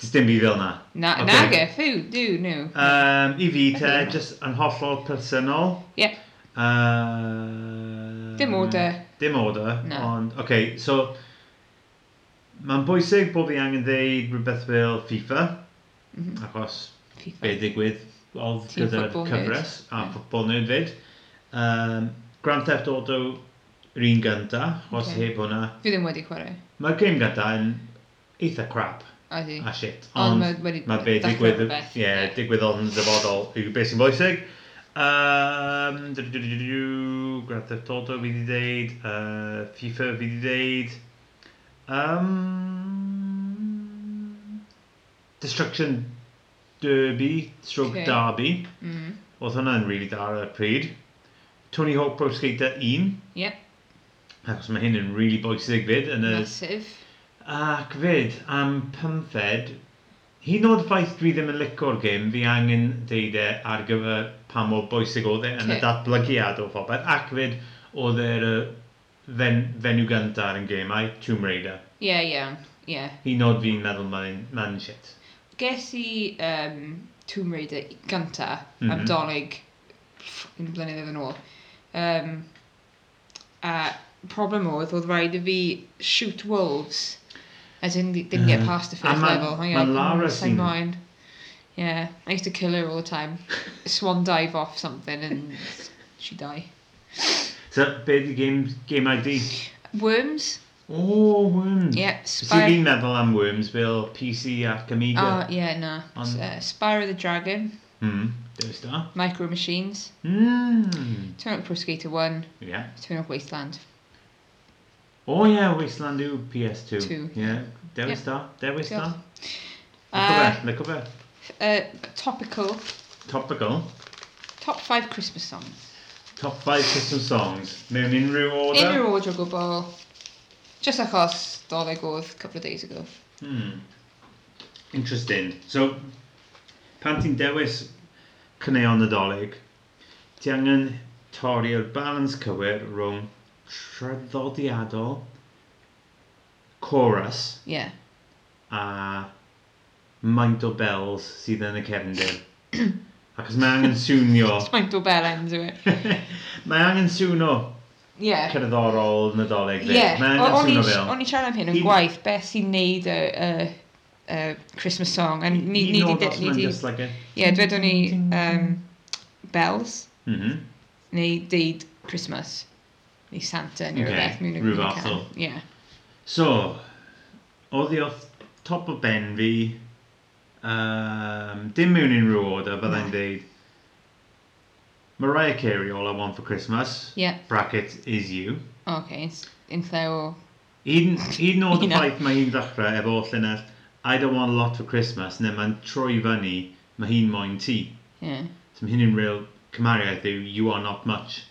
Speaker 1: does dim fi fel na.
Speaker 2: Na,
Speaker 1: Ocê.
Speaker 2: e, okay. naga, ffw, dw, nhw.
Speaker 1: Um, I fi te,
Speaker 2: Ydi.
Speaker 1: just yn hollol personol.
Speaker 2: Ie.
Speaker 1: Uh,
Speaker 2: Dim order.
Speaker 1: Dim order.
Speaker 2: Na.
Speaker 1: Ond, oce, okay, so... Mae'n bwysig bod fi angen ddeud rhywbeth fel FIFA,
Speaker 2: Mhm.
Speaker 1: achos be
Speaker 2: FIFA.
Speaker 1: digwydd oedd
Speaker 2: Team
Speaker 1: gyda'r
Speaker 2: football nerd.
Speaker 1: cyfres a ffwbol nhw'n fyd. Um, Grand Theft Auto yr un gynta, os
Speaker 2: Ocê.
Speaker 1: okay. heb hwnna.
Speaker 2: Fi ddim wedi chwarae.
Speaker 1: Mae'r game gynta yn eitha crap
Speaker 2: A di.
Speaker 1: a shit.
Speaker 2: Ond
Speaker 1: Ond
Speaker 2: mae wedi
Speaker 1: mae fe
Speaker 2: dechrau
Speaker 1: digwydd,
Speaker 2: rhywbeth,
Speaker 1: ie,
Speaker 2: ie.
Speaker 1: digwydd ond yn dyfodol yw beth sy'n bwysig. Um, du- du- du- du- du, Grand Theft Auto fi wedi deud, uh, FIFA fi wedi deud. Um, Destruction Derby, stroke
Speaker 2: Ocê.
Speaker 1: Derby.
Speaker 2: Mm.
Speaker 1: Oedd hwnna'n really da ar y pryd. Tony Hawk Pro Skater 1.
Speaker 2: Yep.
Speaker 1: Achos mae hyn yn really bwysig fyd. Yn y...
Speaker 2: Massive.
Speaker 1: Ac fyd, am pymfed, hyd yn oed ffaith dwi ddim yn licio'r gêm, fi angen deud e ar gyfer pa mor bwysig oedd e yn y
Speaker 2: Ocê.
Speaker 1: datblygiad o phobeth. Ac fyd, oedd e'r yy, fen, fenyw gyntaf yn gemau, Tomb Raider.
Speaker 2: Ie, iawn. Ie.
Speaker 1: Hyd yn oed fi'n meddwl mae'n man shit.
Speaker 2: Ges i um, Tomb Raider gynta
Speaker 1: Mhm.
Speaker 2: am dolyg un blynedd yn ôl. Um, a problem oedd, oedd rhaid i fi shoot wolves. As in, they didn't get
Speaker 1: Ie.
Speaker 2: past the
Speaker 1: A
Speaker 2: first
Speaker 1: ma-
Speaker 2: level. Hang
Speaker 1: ma'
Speaker 2: on,
Speaker 1: Lara
Speaker 2: same
Speaker 1: seen-
Speaker 2: mind. Yeah, I used to kill her all the time. Swan dive off something and she die.
Speaker 1: So, be di gêm, gemau di?
Speaker 2: Worms?
Speaker 1: O, Worms.
Speaker 2: Yeah,
Speaker 1: So
Speaker 2: Spyro.
Speaker 1: fi'n meddwl am Worms fel PC ac Amiga.
Speaker 2: Oh, yeah, no.
Speaker 1: On-
Speaker 2: Uh, Spyro the Dragon,
Speaker 1: Hmm, dewis da.
Speaker 2: Micro Machines,
Speaker 1: Hmm,
Speaker 2: Turn Up Pro Skater 1,
Speaker 1: ie. Yeah.
Speaker 2: Turn Up Wasteland.
Speaker 1: O ie, Oh, yeah, Wasteland yw PS2.
Speaker 2: Two.
Speaker 1: Ie, yeah. dewis da, dewis da.
Speaker 2: Diolch.
Speaker 1: Lyco
Speaker 2: Uh,
Speaker 1: fe, lyco fe.
Speaker 2: uh, topical,
Speaker 1: Topical.
Speaker 2: top 5 Christmas songs.
Speaker 1: Top 5 Christmas songs. Mewn unrhyw order.
Speaker 2: Unrhyw order o gwbl, just achos doleg oedd couple of days ago.
Speaker 1: Hmm. Interesting. So, pan ti'n dewis cyneuon nadolig, ti angen torri'r balans cywir rhwng traddodiadol, chorus,
Speaker 2: Yeah.
Speaker 1: a maint o bells sydd yn y cefndir. Achos mae angen swnio,
Speaker 2: It's my doorbell ends of it.
Speaker 1: mae angen swnio
Speaker 2: Yeah.
Speaker 1: cerddorol nadolig. dde.
Speaker 2: Yeah,
Speaker 1: Mae
Speaker 2: o-
Speaker 1: angen
Speaker 2: o'n i
Speaker 1: swnio
Speaker 2: s-
Speaker 1: fel.
Speaker 2: o'n i'n siarad am hyn yn
Speaker 1: Hyd-
Speaker 2: gwaith, beth sy'n neud y, y, y Christmas song. And ni, ni,
Speaker 1: Hyd yn
Speaker 2: ni,
Speaker 1: oed os
Speaker 2: ni,
Speaker 1: mae'n
Speaker 2: ni,
Speaker 1: just like a-
Speaker 2: yeah, dwedwn ni um, bells,
Speaker 1: Mhm.
Speaker 2: neu deud Christmas, neu Santa, neu
Speaker 1: Ocê,
Speaker 2: rhywbeth. mewn-
Speaker 1: rhyw
Speaker 2: mewn
Speaker 1: fath
Speaker 2: can.
Speaker 1: o-
Speaker 2: Yeah.
Speaker 1: So, oedd i off top o ben fi, um, dim mewn unrhyw order, byddai'n deud, Mariah Carey, All I Want For Christmas,
Speaker 2: Yeah.
Speaker 1: bracket, is you.
Speaker 2: Okay, it's in o...
Speaker 1: Hyd yn- hyd yn oed y
Speaker 2: Hynna.
Speaker 1: ffaith mae hi'n ddechrau efo llynell, I don't want a lot for Christmas, neu mae'n troi fyny, mae hi'n moyn ti.
Speaker 2: Yeah.
Speaker 1: So mae hyn yn real cymariaeth yw, you are not much.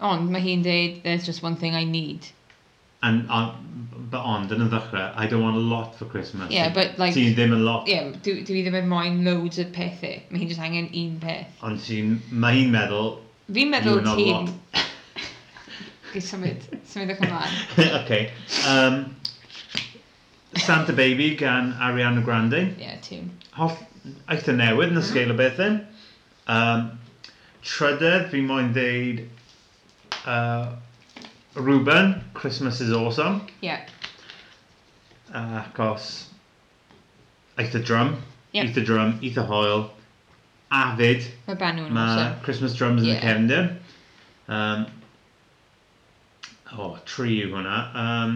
Speaker 2: Ond mae hi'n deud, there's just one thing I need.
Speaker 1: And, uh, but ond, yn y ddechrau, I don't want a lot for Christmas.
Speaker 2: Yeah, but like...
Speaker 1: Ti'n ddim yn lot.
Speaker 2: Yeah, dwi, dwi ddim yn moyn loads o pethau. Mae hi'n just angen un peth.
Speaker 1: Ond ti'n, mae hi'n meddwl,
Speaker 2: Fi'n
Speaker 1: you
Speaker 2: meddwl
Speaker 1: are not a
Speaker 2: ti'n...
Speaker 1: lot.
Speaker 2: Okay, symud, symud o'ch ymlaen.
Speaker 1: okay. Um, Santa Baby gan Ariana Grande.
Speaker 2: Yeah, tune.
Speaker 1: Holl eitha newydd
Speaker 2: Mm-hmm.
Speaker 1: yn y sgil o bethau. Um, trydedd, fi moyn ddeud uh, Ruben, Christmas is awesome.
Speaker 2: Yeah,
Speaker 1: Acos eitha drum,
Speaker 2: Yep.
Speaker 1: eitha drum, eitha hoel. Afid,
Speaker 2: mae Banw yn
Speaker 1: mae
Speaker 2: awesome.
Speaker 1: Christmas drums yn
Speaker 2: Ie.
Speaker 1: y cefndir. Um, o, oh, tri yw hwnna. Um,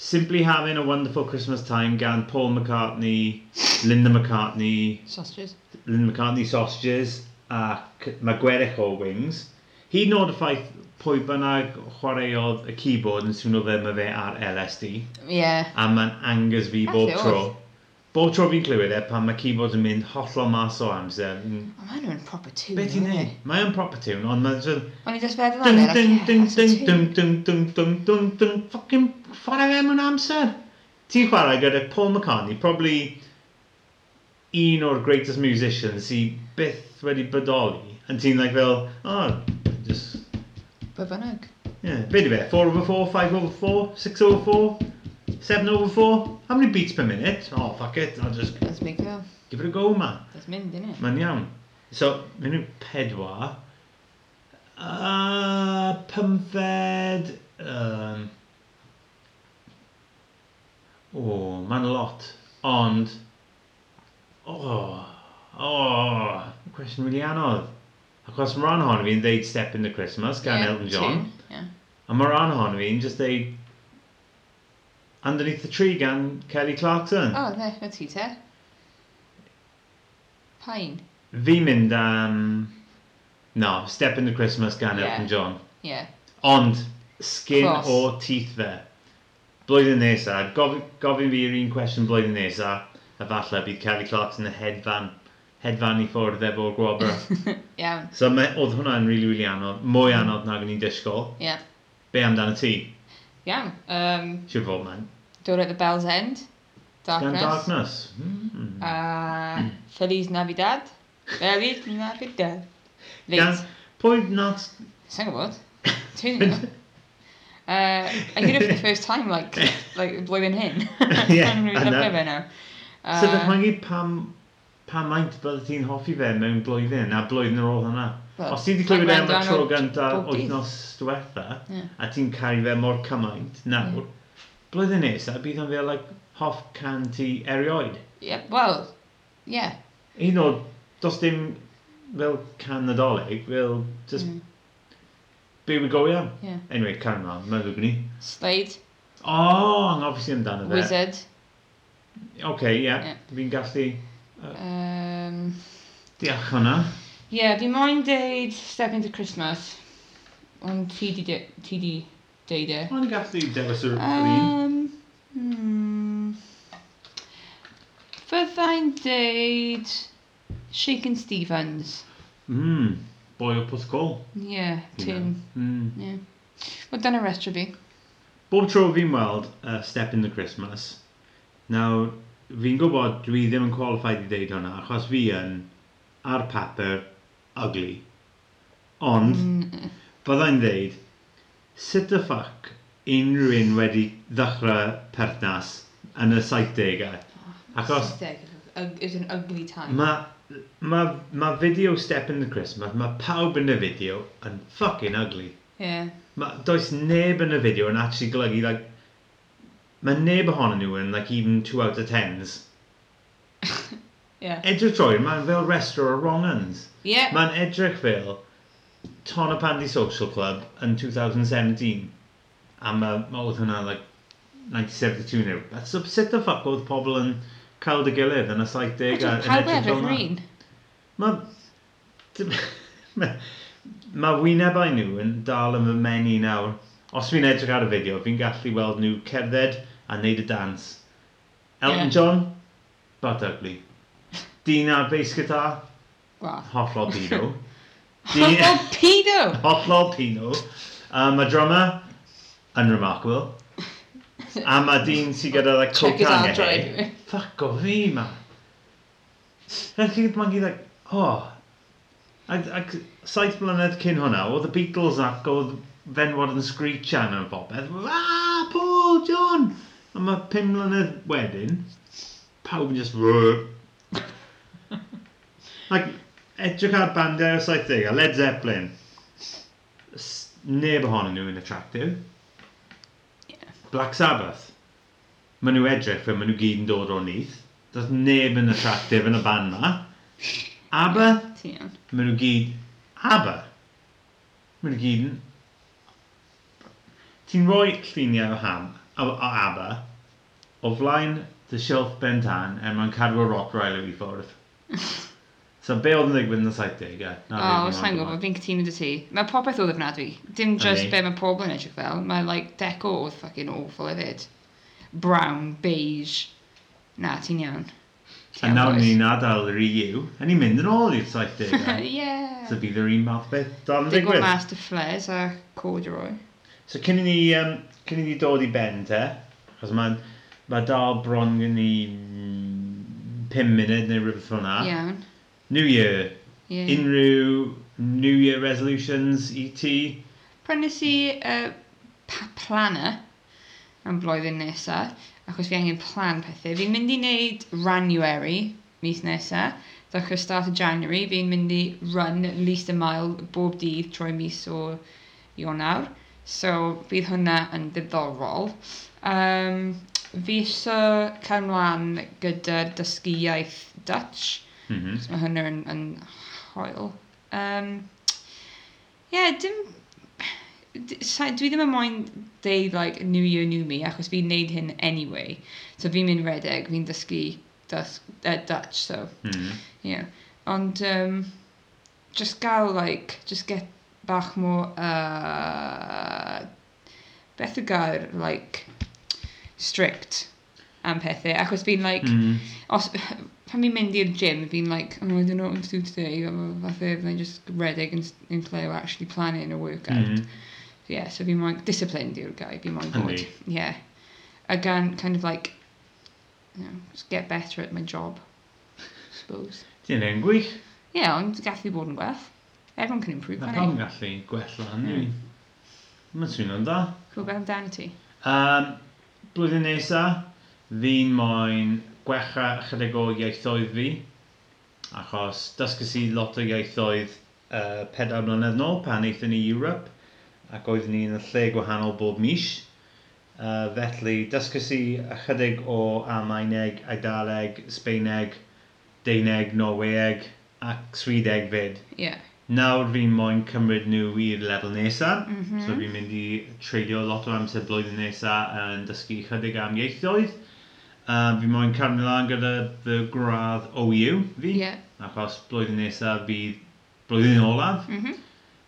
Speaker 1: Simply having a wonderful Christmas time gan Paul McCartney, Linda McCartney,
Speaker 2: Sausages.
Speaker 1: Linda McCartney sausages ac mae gwerech o wings. Hyd yn oed y ffaith pwy bynnag chwaraeodd y keyboard yn swno fe mae fe ar LSD.
Speaker 2: Yeah.
Speaker 1: A mae'n angers fi bob
Speaker 2: Falle
Speaker 1: tro.
Speaker 2: oedd.
Speaker 1: Bob tro fi'n clywed e pan mae keyboard yn mynd hollol mas o amser. Mm,
Speaker 2: Oh, maen nhw'n proper tune.
Speaker 1: Be ti'n
Speaker 2: aren't
Speaker 1: neud? Mae'n proper tune, ond mae'n sort of...
Speaker 2: they? O'n i just feddwl
Speaker 1: Dun
Speaker 2: am it.
Speaker 1: dun
Speaker 2: like,
Speaker 1: dun
Speaker 2: yeah, that's
Speaker 1: dun
Speaker 2: a
Speaker 1: dun
Speaker 2: tune.
Speaker 1: dun dun dun dun dun Fucking chwarae fe mewn amser. Ti'n chwarae gyda Paul McCartney, probably un o'r greatest musicians sy byth wedi bodoli. And ti'n like fel, oh, just...
Speaker 2: Be bynnag.
Speaker 1: Yeah, be di fe? 4 over 4, 5 over 4, 6 over 4, 7 over 4. How many beats per minute? Oh, fuck it, I'll just
Speaker 2: Let's make it up.
Speaker 1: give it a go, man.
Speaker 2: Let's mynd, innit?
Speaker 1: Mae'n iawn. So, mynd nhw pedwar. Uh, pymfed... Um, o, oh, mae'n lot. Ond... O, oh, O, cwestiwn rili anodd. Achos mae rhan ohono fi'n dweud Step in the Christmas gan
Speaker 2: Yeah,
Speaker 1: Elton John.
Speaker 2: tune, Yeah.
Speaker 1: A mae rhan ohono fi'n just dweud Underneath the Tree gan Kelly Clarkson.
Speaker 2: O, ne, na ti te. Pain.
Speaker 1: Fi'n mynd am... No, Step in the Christmas gan
Speaker 2: Yeah.
Speaker 1: Elton John.
Speaker 2: Yeah.
Speaker 1: Ond, skin
Speaker 2: Close.
Speaker 1: o teeth fe. Blwyddyn nesa, gofyn, gofyn fi'r un cwestiwn blwyddyn nesa, a falle bydd Kelly Clarkson y hedfan, hedfan i ffwrdd efo'r gwobr.
Speaker 2: Iawn.
Speaker 1: so mae, oedd hwnna'n rili, really, really anodd, mwy anodd nag o'n i'n disgwyl.
Speaker 2: Yeah.
Speaker 1: Be amdano ti?
Speaker 2: Iawn. Um,
Speaker 1: Siwr fod man.
Speaker 2: Door at the Bell's End.
Speaker 1: Gan
Speaker 2: Darkness.
Speaker 1: Darkness. Mm.
Speaker 2: A Feliz Navidad. Feliz Navidad.
Speaker 1: Gan,
Speaker 2: Late.
Speaker 1: pwy not...
Speaker 2: Sa'n gwybod? Dwi'n gwybod. Uh, I did it for the first time, like, like blwyddyn hyn.
Speaker 1: Yeah,
Speaker 2: I'm really
Speaker 1: I know.
Speaker 2: lyfio fe now.
Speaker 1: Uh,
Speaker 2: Eh,
Speaker 1: so dwi'n gyd pam, pam maint bydde ti'n hoffi fe mewn blwyddyn, a blwyddyn ar ôl hwnna.
Speaker 2: Wel,
Speaker 1: Os ti wedi
Speaker 2: mae'n
Speaker 1: clywed am y
Speaker 2: gwrando
Speaker 1: tro
Speaker 2: ar
Speaker 1: gynta
Speaker 2: bob dydd.
Speaker 1: wythnos diwetha,
Speaker 2: Ie.
Speaker 1: a ti'n caru fe mor cymaint nawr, blwyddyn nesa bydd yn fel like, hoff can ti erioed.
Speaker 2: Yeah, well, yeah.
Speaker 1: Un o, dos dim fel can nadolig, fel just
Speaker 2: Mm.
Speaker 1: byw i go iawn.
Speaker 2: Ie.
Speaker 1: Anyway, can ma, mae'n dwi'n ni.
Speaker 2: Slade,
Speaker 1: O, oh, anghofus i amdano fe.
Speaker 2: Wizard,
Speaker 1: OK, ie. Yeah.
Speaker 2: Ie.
Speaker 1: Fi'n gallu
Speaker 2: um,
Speaker 1: deall hwnna.
Speaker 2: Yeah, fi moyn deud Step Into Christmas. Ond ti di, de, ti di deud e.
Speaker 1: Mae'n gallu dewis yr un.
Speaker 2: Um, hmm. Fyddai'n deud Shaken Stevens.
Speaker 1: Mm, boi o pwth col.
Speaker 2: Yeah, Tim.
Speaker 1: Mm.
Speaker 2: Yeah. Wel, dyna rest o fi.
Speaker 1: Bob tro fi'n weld uh, Step in the Christmas, nawr, fi'n gwybod dwi ddim yn qualified i ddeud hwnna, achos fi yn, ar papur, ugly. Ond,
Speaker 2: Mm,
Speaker 1: byddai'n ddeud, sut y ffac unrhyw un wedi ddechrau perthnas yn y 70au?
Speaker 2: Oh,
Speaker 1: Achos
Speaker 2: Saesneg, ug- It's an ugly time.
Speaker 1: Mae ma, ma video Step in the Christmas, mae pawb yn y fideo yn fucking ugly.
Speaker 2: Yeah.
Speaker 1: Ma, does neb yn y fideo yn actually golygu, like, mae neb ohonyn nhw yn, like, even 2 out of 10s.
Speaker 2: Yeah.
Speaker 1: Edrych troi, mae'n fel restro o wrong uns.
Speaker 2: Yeah.
Speaker 1: Mae'n edrych fel Tonna Pandy Social Club yn 2017. A mae ma oedd hwnna, like, 1972 neu rhywbeth. So, sut the fuck oedd pobl yn cael dy gilydd yn y 70au yn edrych
Speaker 2: Pawb efo
Speaker 1: fel 'na?
Speaker 2: green.
Speaker 1: Mae... Mae wynebau nhw yn dal yn fy menu nawr. Os fi'n edrych ar y fideo, fi'n gallu weld nhw cerdded a wneud y dans. Elton
Speaker 2: Ie.
Speaker 1: John, but ugly. Dyn ar bass guitar,
Speaker 2: Gwath.
Speaker 1: hollol pino. Dyn-
Speaker 2: Purple pedo!
Speaker 1: hollol pino. Um, a drummer, unremarkable. A mae dyn sy'n gyda like,
Speaker 2: Check his
Speaker 1: cocan
Speaker 2: Android.
Speaker 1: Fuck o fi, man. Felly mae'n gyd like, oh. Ac, ac saith blynedd cyn hwnna, oedd y Beatles ac oedd fenwad yn screechan yn bobeth. Ah, Paul, John! A mae pum mlynedd wedyn, pawb yn just... "Rrr." Ac edrych ar er bandiau o 70 Led Zeppelin. S- Neb ohonyn nhw yn attractive. Black Sabbath. Maen nhw edrych fel maen nhw gyd yn dod o nith. Does neb yn attractive yn y band ma. ABBA,
Speaker 2: Ti iawn.
Speaker 1: maen nhw gyd... ABBA. Maen nhw gyd yn... Ti'n rhoi lluniau o ham, o, o ABBA, o flaen dy shelf bentan, a mae'n cadw o er rock rail i ffwrdd. So be oedd yn ddigwydd yn y 70au? Yeah,
Speaker 2: O, sa'n gwybod, fi'n cytuno dy ti. Mae popeth oedd ofnadwy. Dim just
Speaker 1: Yndi.
Speaker 2: be mae pobl yn edrych fel. Mae, like, deco oedd fucking awful hefyd. Brown, beige. Na, ti'n iawn.
Speaker 1: A nawr ni'n adael yr EU, a ni'n mynd yn ôl i'r 70au.
Speaker 2: Yeah.
Speaker 1: so bydd yr un math beth dal yn
Speaker 2: Digwydd
Speaker 1: digwydd.
Speaker 2: mas dy flares a corduroy.
Speaker 1: So cyn i ni, um, cyn i ni dod i ben te, achos mae'n ma dal bron gen ni mm, 5 munud neu rhywbeth fel yna.
Speaker 2: Iawn.
Speaker 1: New Year,
Speaker 2: Ie.
Speaker 1: unrhyw New Year resolutions E i ti?
Speaker 2: Prynes i yy, pa- planner am blwyddyn nesa, achos fi angen plan pethau. Fi'n mynd i wneud January mis nesa, ddechrau start o January, fi'n mynd i run at least a mile bob dydd trwy mis o Ionawr. So bydd hwnna yn ddiddorol. Um, fi eisiau cael mlaen gyda dysgu iaith Dutch,
Speaker 1: Mhm.
Speaker 2: Mae hwnna yn, yn hoel. Um, Ie, yeah, dim... d- sa- Dwi ddim yn moyn deud, like, new year, new me, achos fi'n neud hyn anyway. So fi'n mynd redeg, fi'n dysgu dus, uh, Dutch, so,
Speaker 1: Mhm.
Speaker 2: ie. Yeah. Ond, um, just gael, like, just get bach more, uh, beth yw gair, like, strict am pethau, achos fi'n, like,
Speaker 1: Mhm.
Speaker 2: os, pan fi'n mynd i'r gym, fi'n like, oh, I don't know what I'm to do today, a fath e, fyddai'n just redeg yn, yn lle o actually planning a workout. Mm.
Speaker 1: Mhm.
Speaker 2: Yeah, so fi'n moyn, disciplined i'r guy, fi'n moyn bod.
Speaker 1: Yndi.
Speaker 2: Yeah. Again, kind of like, you know, just get better at my job, I suppose.
Speaker 1: Ti'n ein gwych.
Speaker 2: Yeah, ond gath i bod yn gwell. Everyone can improve,
Speaker 1: Mae
Speaker 2: can
Speaker 1: pawb
Speaker 2: they?
Speaker 1: yn gallu gwella hynny. Mae'n swno'n dda.
Speaker 2: Cool, beth amdano ti?
Speaker 1: Um, blwyddyn nesa, fi'n moyn gwella ychydig o ieithoedd fi, achos dysgus i lot o ieithoedd uh, pedair mlynedd nôl pan eithon ni Europe, ac oeddwn ni yn y lle gwahanol bob mis. Uh, felly, dysgus i ychydig o Almaeneg, Eidaleg, Sbeineg, Deineg, Norweg ac Swedeg fyd.
Speaker 2: Yeah.
Speaker 1: Nawr fi'n moyn cymryd nhw i'r lefel nesaf.
Speaker 2: Mhm.
Speaker 1: So fi'n mynd i treulio lot o amser blwyddyn nesaf yn dysgu chydig am ieithoedd. Um, fi moyn cario lan gyda fy gradd OU fi,
Speaker 2: Yeah.
Speaker 1: achos blwyddyn nesaf bydd blwyddyn olaf,
Speaker 2: Mhm.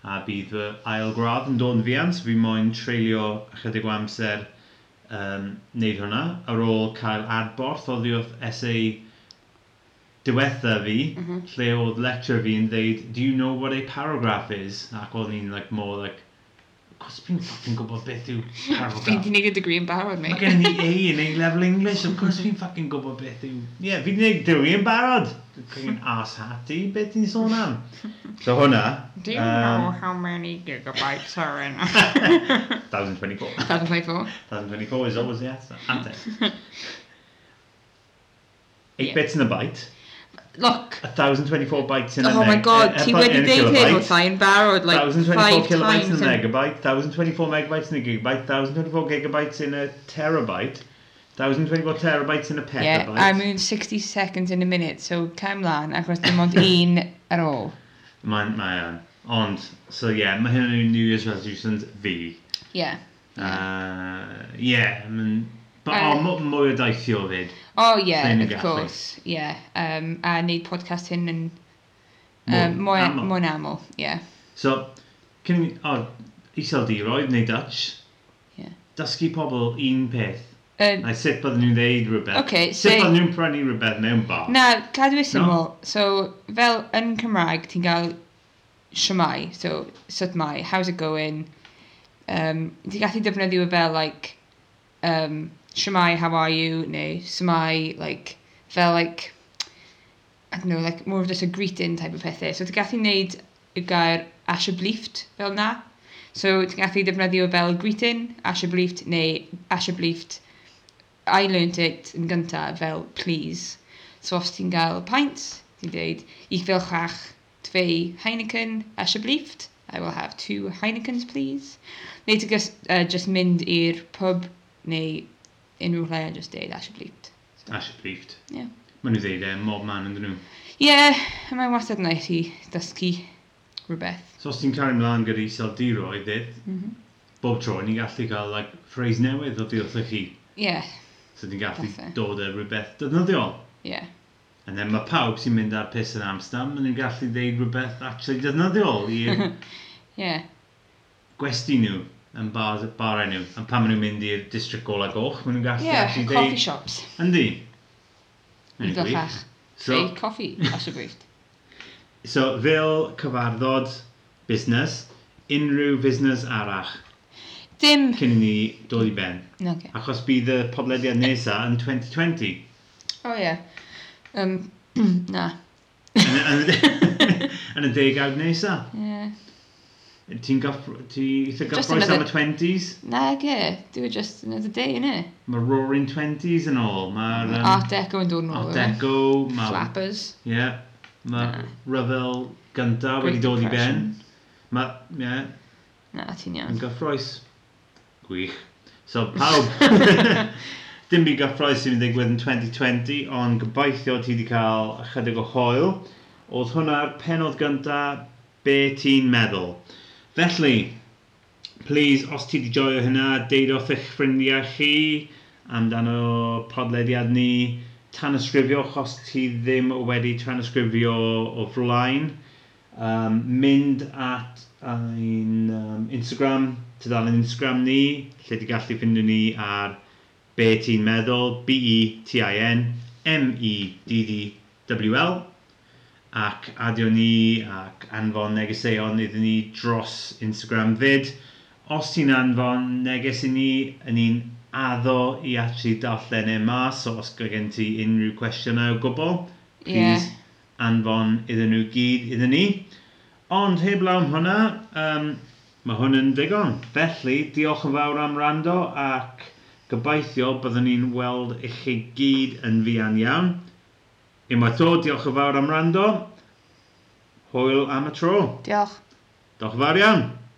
Speaker 1: a bydd fy ail gradd yn dod yn fiant. Fi moyn treulio chydig o amser um, wneud hwnna, ar ôl cael adborth o ddiwrth essay diwetha fi,
Speaker 2: Mhm.
Speaker 1: lle oedd lecture fi yn dweud, do you know what a paragraph is? Ac oedd ni'n like, more like, cos fi'n fucking gwybod beth yw
Speaker 2: Fi
Speaker 1: paragraph.
Speaker 2: di neud y degree yn barod,
Speaker 1: Mae
Speaker 2: mate.
Speaker 1: gen i A yn ei level English, of course fi'n fucking gwybod beth yw... Ie, yeah, fi di neud dwi yn barod. Cyn as hati, beth ti'n sôn am? So hwnna...
Speaker 2: Do you know
Speaker 1: um,
Speaker 2: how many gigabytes are in
Speaker 1: 1024.
Speaker 2: 2024?
Speaker 1: 1024 is always the answer. Ante. 8
Speaker 2: Yeah.
Speaker 1: bits in a byte.
Speaker 2: Look,
Speaker 1: 1024 bytes in a
Speaker 2: Oh
Speaker 1: meg-
Speaker 2: my god,
Speaker 1: uh,
Speaker 2: ti
Speaker 1: by-
Speaker 2: wedi
Speaker 1: in a
Speaker 2: deud
Speaker 1: kilobyte.
Speaker 2: hyn o thai yn barod, like,
Speaker 1: 1024
Speaker 2: five
Speaker 1: kilobytes
Speaker 2: times.
Speaker 1: in a
Speaker 2: in-
Speaker 1: megabyte, 1024 megabytes in a gigabyte, 1024 gigabytes in a terabyte, 1024 terabytes in a petabyte.
Speaker 2: Yeah, I mean 60 seconds in a minute, so cael mlaen, achos dim ond un ar ôl.
Speaker 1: Mae'n, mae'n. Ond, so ie, yeah, mae hyn yn New Year's resolutions fi.
Speaker 2: Yeah.
Speaker 1: Ie, uh, yeah, mae'n...
Speaker 2: Uh,
Speaker 1: Uh, o, mwy o daithio fyd.
Speaker 2: Oh
Speaker 1: Llun
Speaker 2: yeah,
Speaker 1: y
Speaker 2: of
Speaker 1: gallu.
Speaker 2: course, yeah. Um, a neud podcast hyn yn
Speaker 1: Mwy
Speaker 2: um, mwy
Speaker 1: aml.
Speaker 2: mwy aml, yeah.
Speaker 1: So, cyn i... O, iseldiroedd neu Dutch.
Speaker 2: Ie.
Speaker 1: Dysgu pobl un peth.
Speaker 2: Uh,
Speaker 1: Neu sut bydden nhw'n ddeud rhywbeth.
Speaker 2: Ocê,
Speaker 1: Sut
Speaker 2: so-
Speaker 1: bydden nhw'n prynu rhywbeth mewn bar.
Speaker 2: na, cadw i syml.
Speaker 1: No.
Speaker 2: So, fel yn Cymraeg, ti'n gael siamai, so, sut mai, how's it going? Um, ti'n gallu defnyddio fe fel, like, um, siamai, how are you? Neu siamai, like, fel, like, I don't know, like, more of just a greeting type of pethau. So, ti'n gallu neud y gair asheblieft fel na. So, ti'n gallu defnyddio fel greeting, asheblieft, neu asheblieft. I learnt it yn gyntaf fel please. So, os ti'n gael pint, ti'n dweud, ich will graag twee Heineken, alsjeblieft. I will have two Heinekens, please. Neu ti'n gas- uh, just mynd i'r pub, neu unrhyw lle a just deud, alsjeblieft.
Speaker 1: Asheblieft.
Speaker 2: Ie.
Speaker 1: Mae nhw ddeud e, mob man yn nhw.
Speaker 2: Ie, yeah, mae'n wastad neis i dysgu rhywbeth.
Speaker 1: So os ti'n cario mlaen gyda iseldiroedd fydd,
Speaker 2: Mhm.
Speaker 1: bob tro ni'n gallu cael like, phrase newydd o ddiwrth chi.
Speaker 2: Ie, yeah,
Speaker 1: So ti'n gallu
Speaker 2: Fatha.
Speaker 1: dod â rhywbeth defnyddiol.
Speaker 2: ie. Yeah.
Speaker 1: And then mae pawb sy'n mynd ar piss yn Amsterdam yn gallu dweud rhywbeth actually defnyddiol i'r
Speaker 2: Ie, yeah.
Speaker 1: gwesti nhw yn bar, bar enw. A pan maen nhw'n mynd i'r district gola goch, maen nhw'n gallu
Speaker 2: yeah,
Speaker 1: actually
Speaker 2: coffee
Speaker 1: dweud...
Speaker 2: shops.
Speaker 1: Yndi.
Speaker 2: I
Speaker 1: Anyway,
Speaker 2: fel chach.
Speaker 1: So,
Speaker 2: Ei, coffi, alsjeblieft.
Speaker 1: so fel cyfarddod busnes, unrhyw busnes arall
Speaker 2: Dim.
Speaker 1: cyn i ni dod i ben.
Speaker 2: Okay.
Speaker 1: Achos bydd y podlediad nesaf yn 2020.
Speaker 2: O oh, ie. Yeah. Um, na.
Speaker 1: Yn y- yn y- Yn y degawd nesaf.
Speaker 2: Yeah.
Speaker 1: Ti'n gaff- ti eitha
Speaker 2: Just
Speaker 1: gyffroes am y
Speaker 2: another-
Speaker 1: 20s?
Speaker 2: Nag e, do it just another day, innit?
Speaker 1: Mae Roaring Twenties yn ôl. Mae'r
Speaker 2: Um,
Speaker 1: um,
Speaker 2: Art Deco yn dod yn ôl.
Speaker 1: Art
Speaker 2: yw e?
Speaker 1: Deco, mae
Speaker 2: Flappers.
Speaker 1: yeah, ma
Speaker 2: Na.
Speaker 1: ryfel gyntaf wedi
Speaker 2: Great
Speaker 1: dod i ben.
Speaker 2: Depression.
Speaker 1: Mae yeah,
Speaker 2: Na, ti'n
Speaker 1: yn
Speaker 2: iawn.
Speaker 1: gyffroes. Gwych. So pawb, Dim byd gyffroes sy'n mynd i ddigwydd yn 2020, ond gobeithio ti wedi cael ychydig o hoel. Oedd hwnna'r penod gyntaf, be ti'n meddwl. Felly, please, os ti wedi joio hynna, deud wrth eich ffrindiau chi amdano podlediad ni. Tanysgrifiwch os ti ddim wedi tanysgrifio o flaen. Um, mynd at ein um, Instagram, tydalen Instagram ni, lle di gallu ffindio ni ar be ti'n meddwl, E B-E-T-I-N, E M-E-D-D-W-L, ac adio ni ac anfon negeseuon iddyn ni dros Instagram fyd. Os ti'n anfon neges i ni, yn ni'n addo i actually darllen e mas, so os gen ti unrhyw cwestiynau o gwbl,
Speaker 2: Ie.
Speaker 1: please anfon iddyn nhw gyd iddyn ni. Ond heblaw am hwnna, um, mae hwn yn ddigon. Felly, diolch yn fawr am rando ac gobeithio byddwn ni'n weld i chi gyd yn fuan iawn. Unwaith to, diolch yn fawr am rando. Hwyl am y tro.
Speaker 2: Diolch.
Speaker 1: Diolch yn fawr iawn.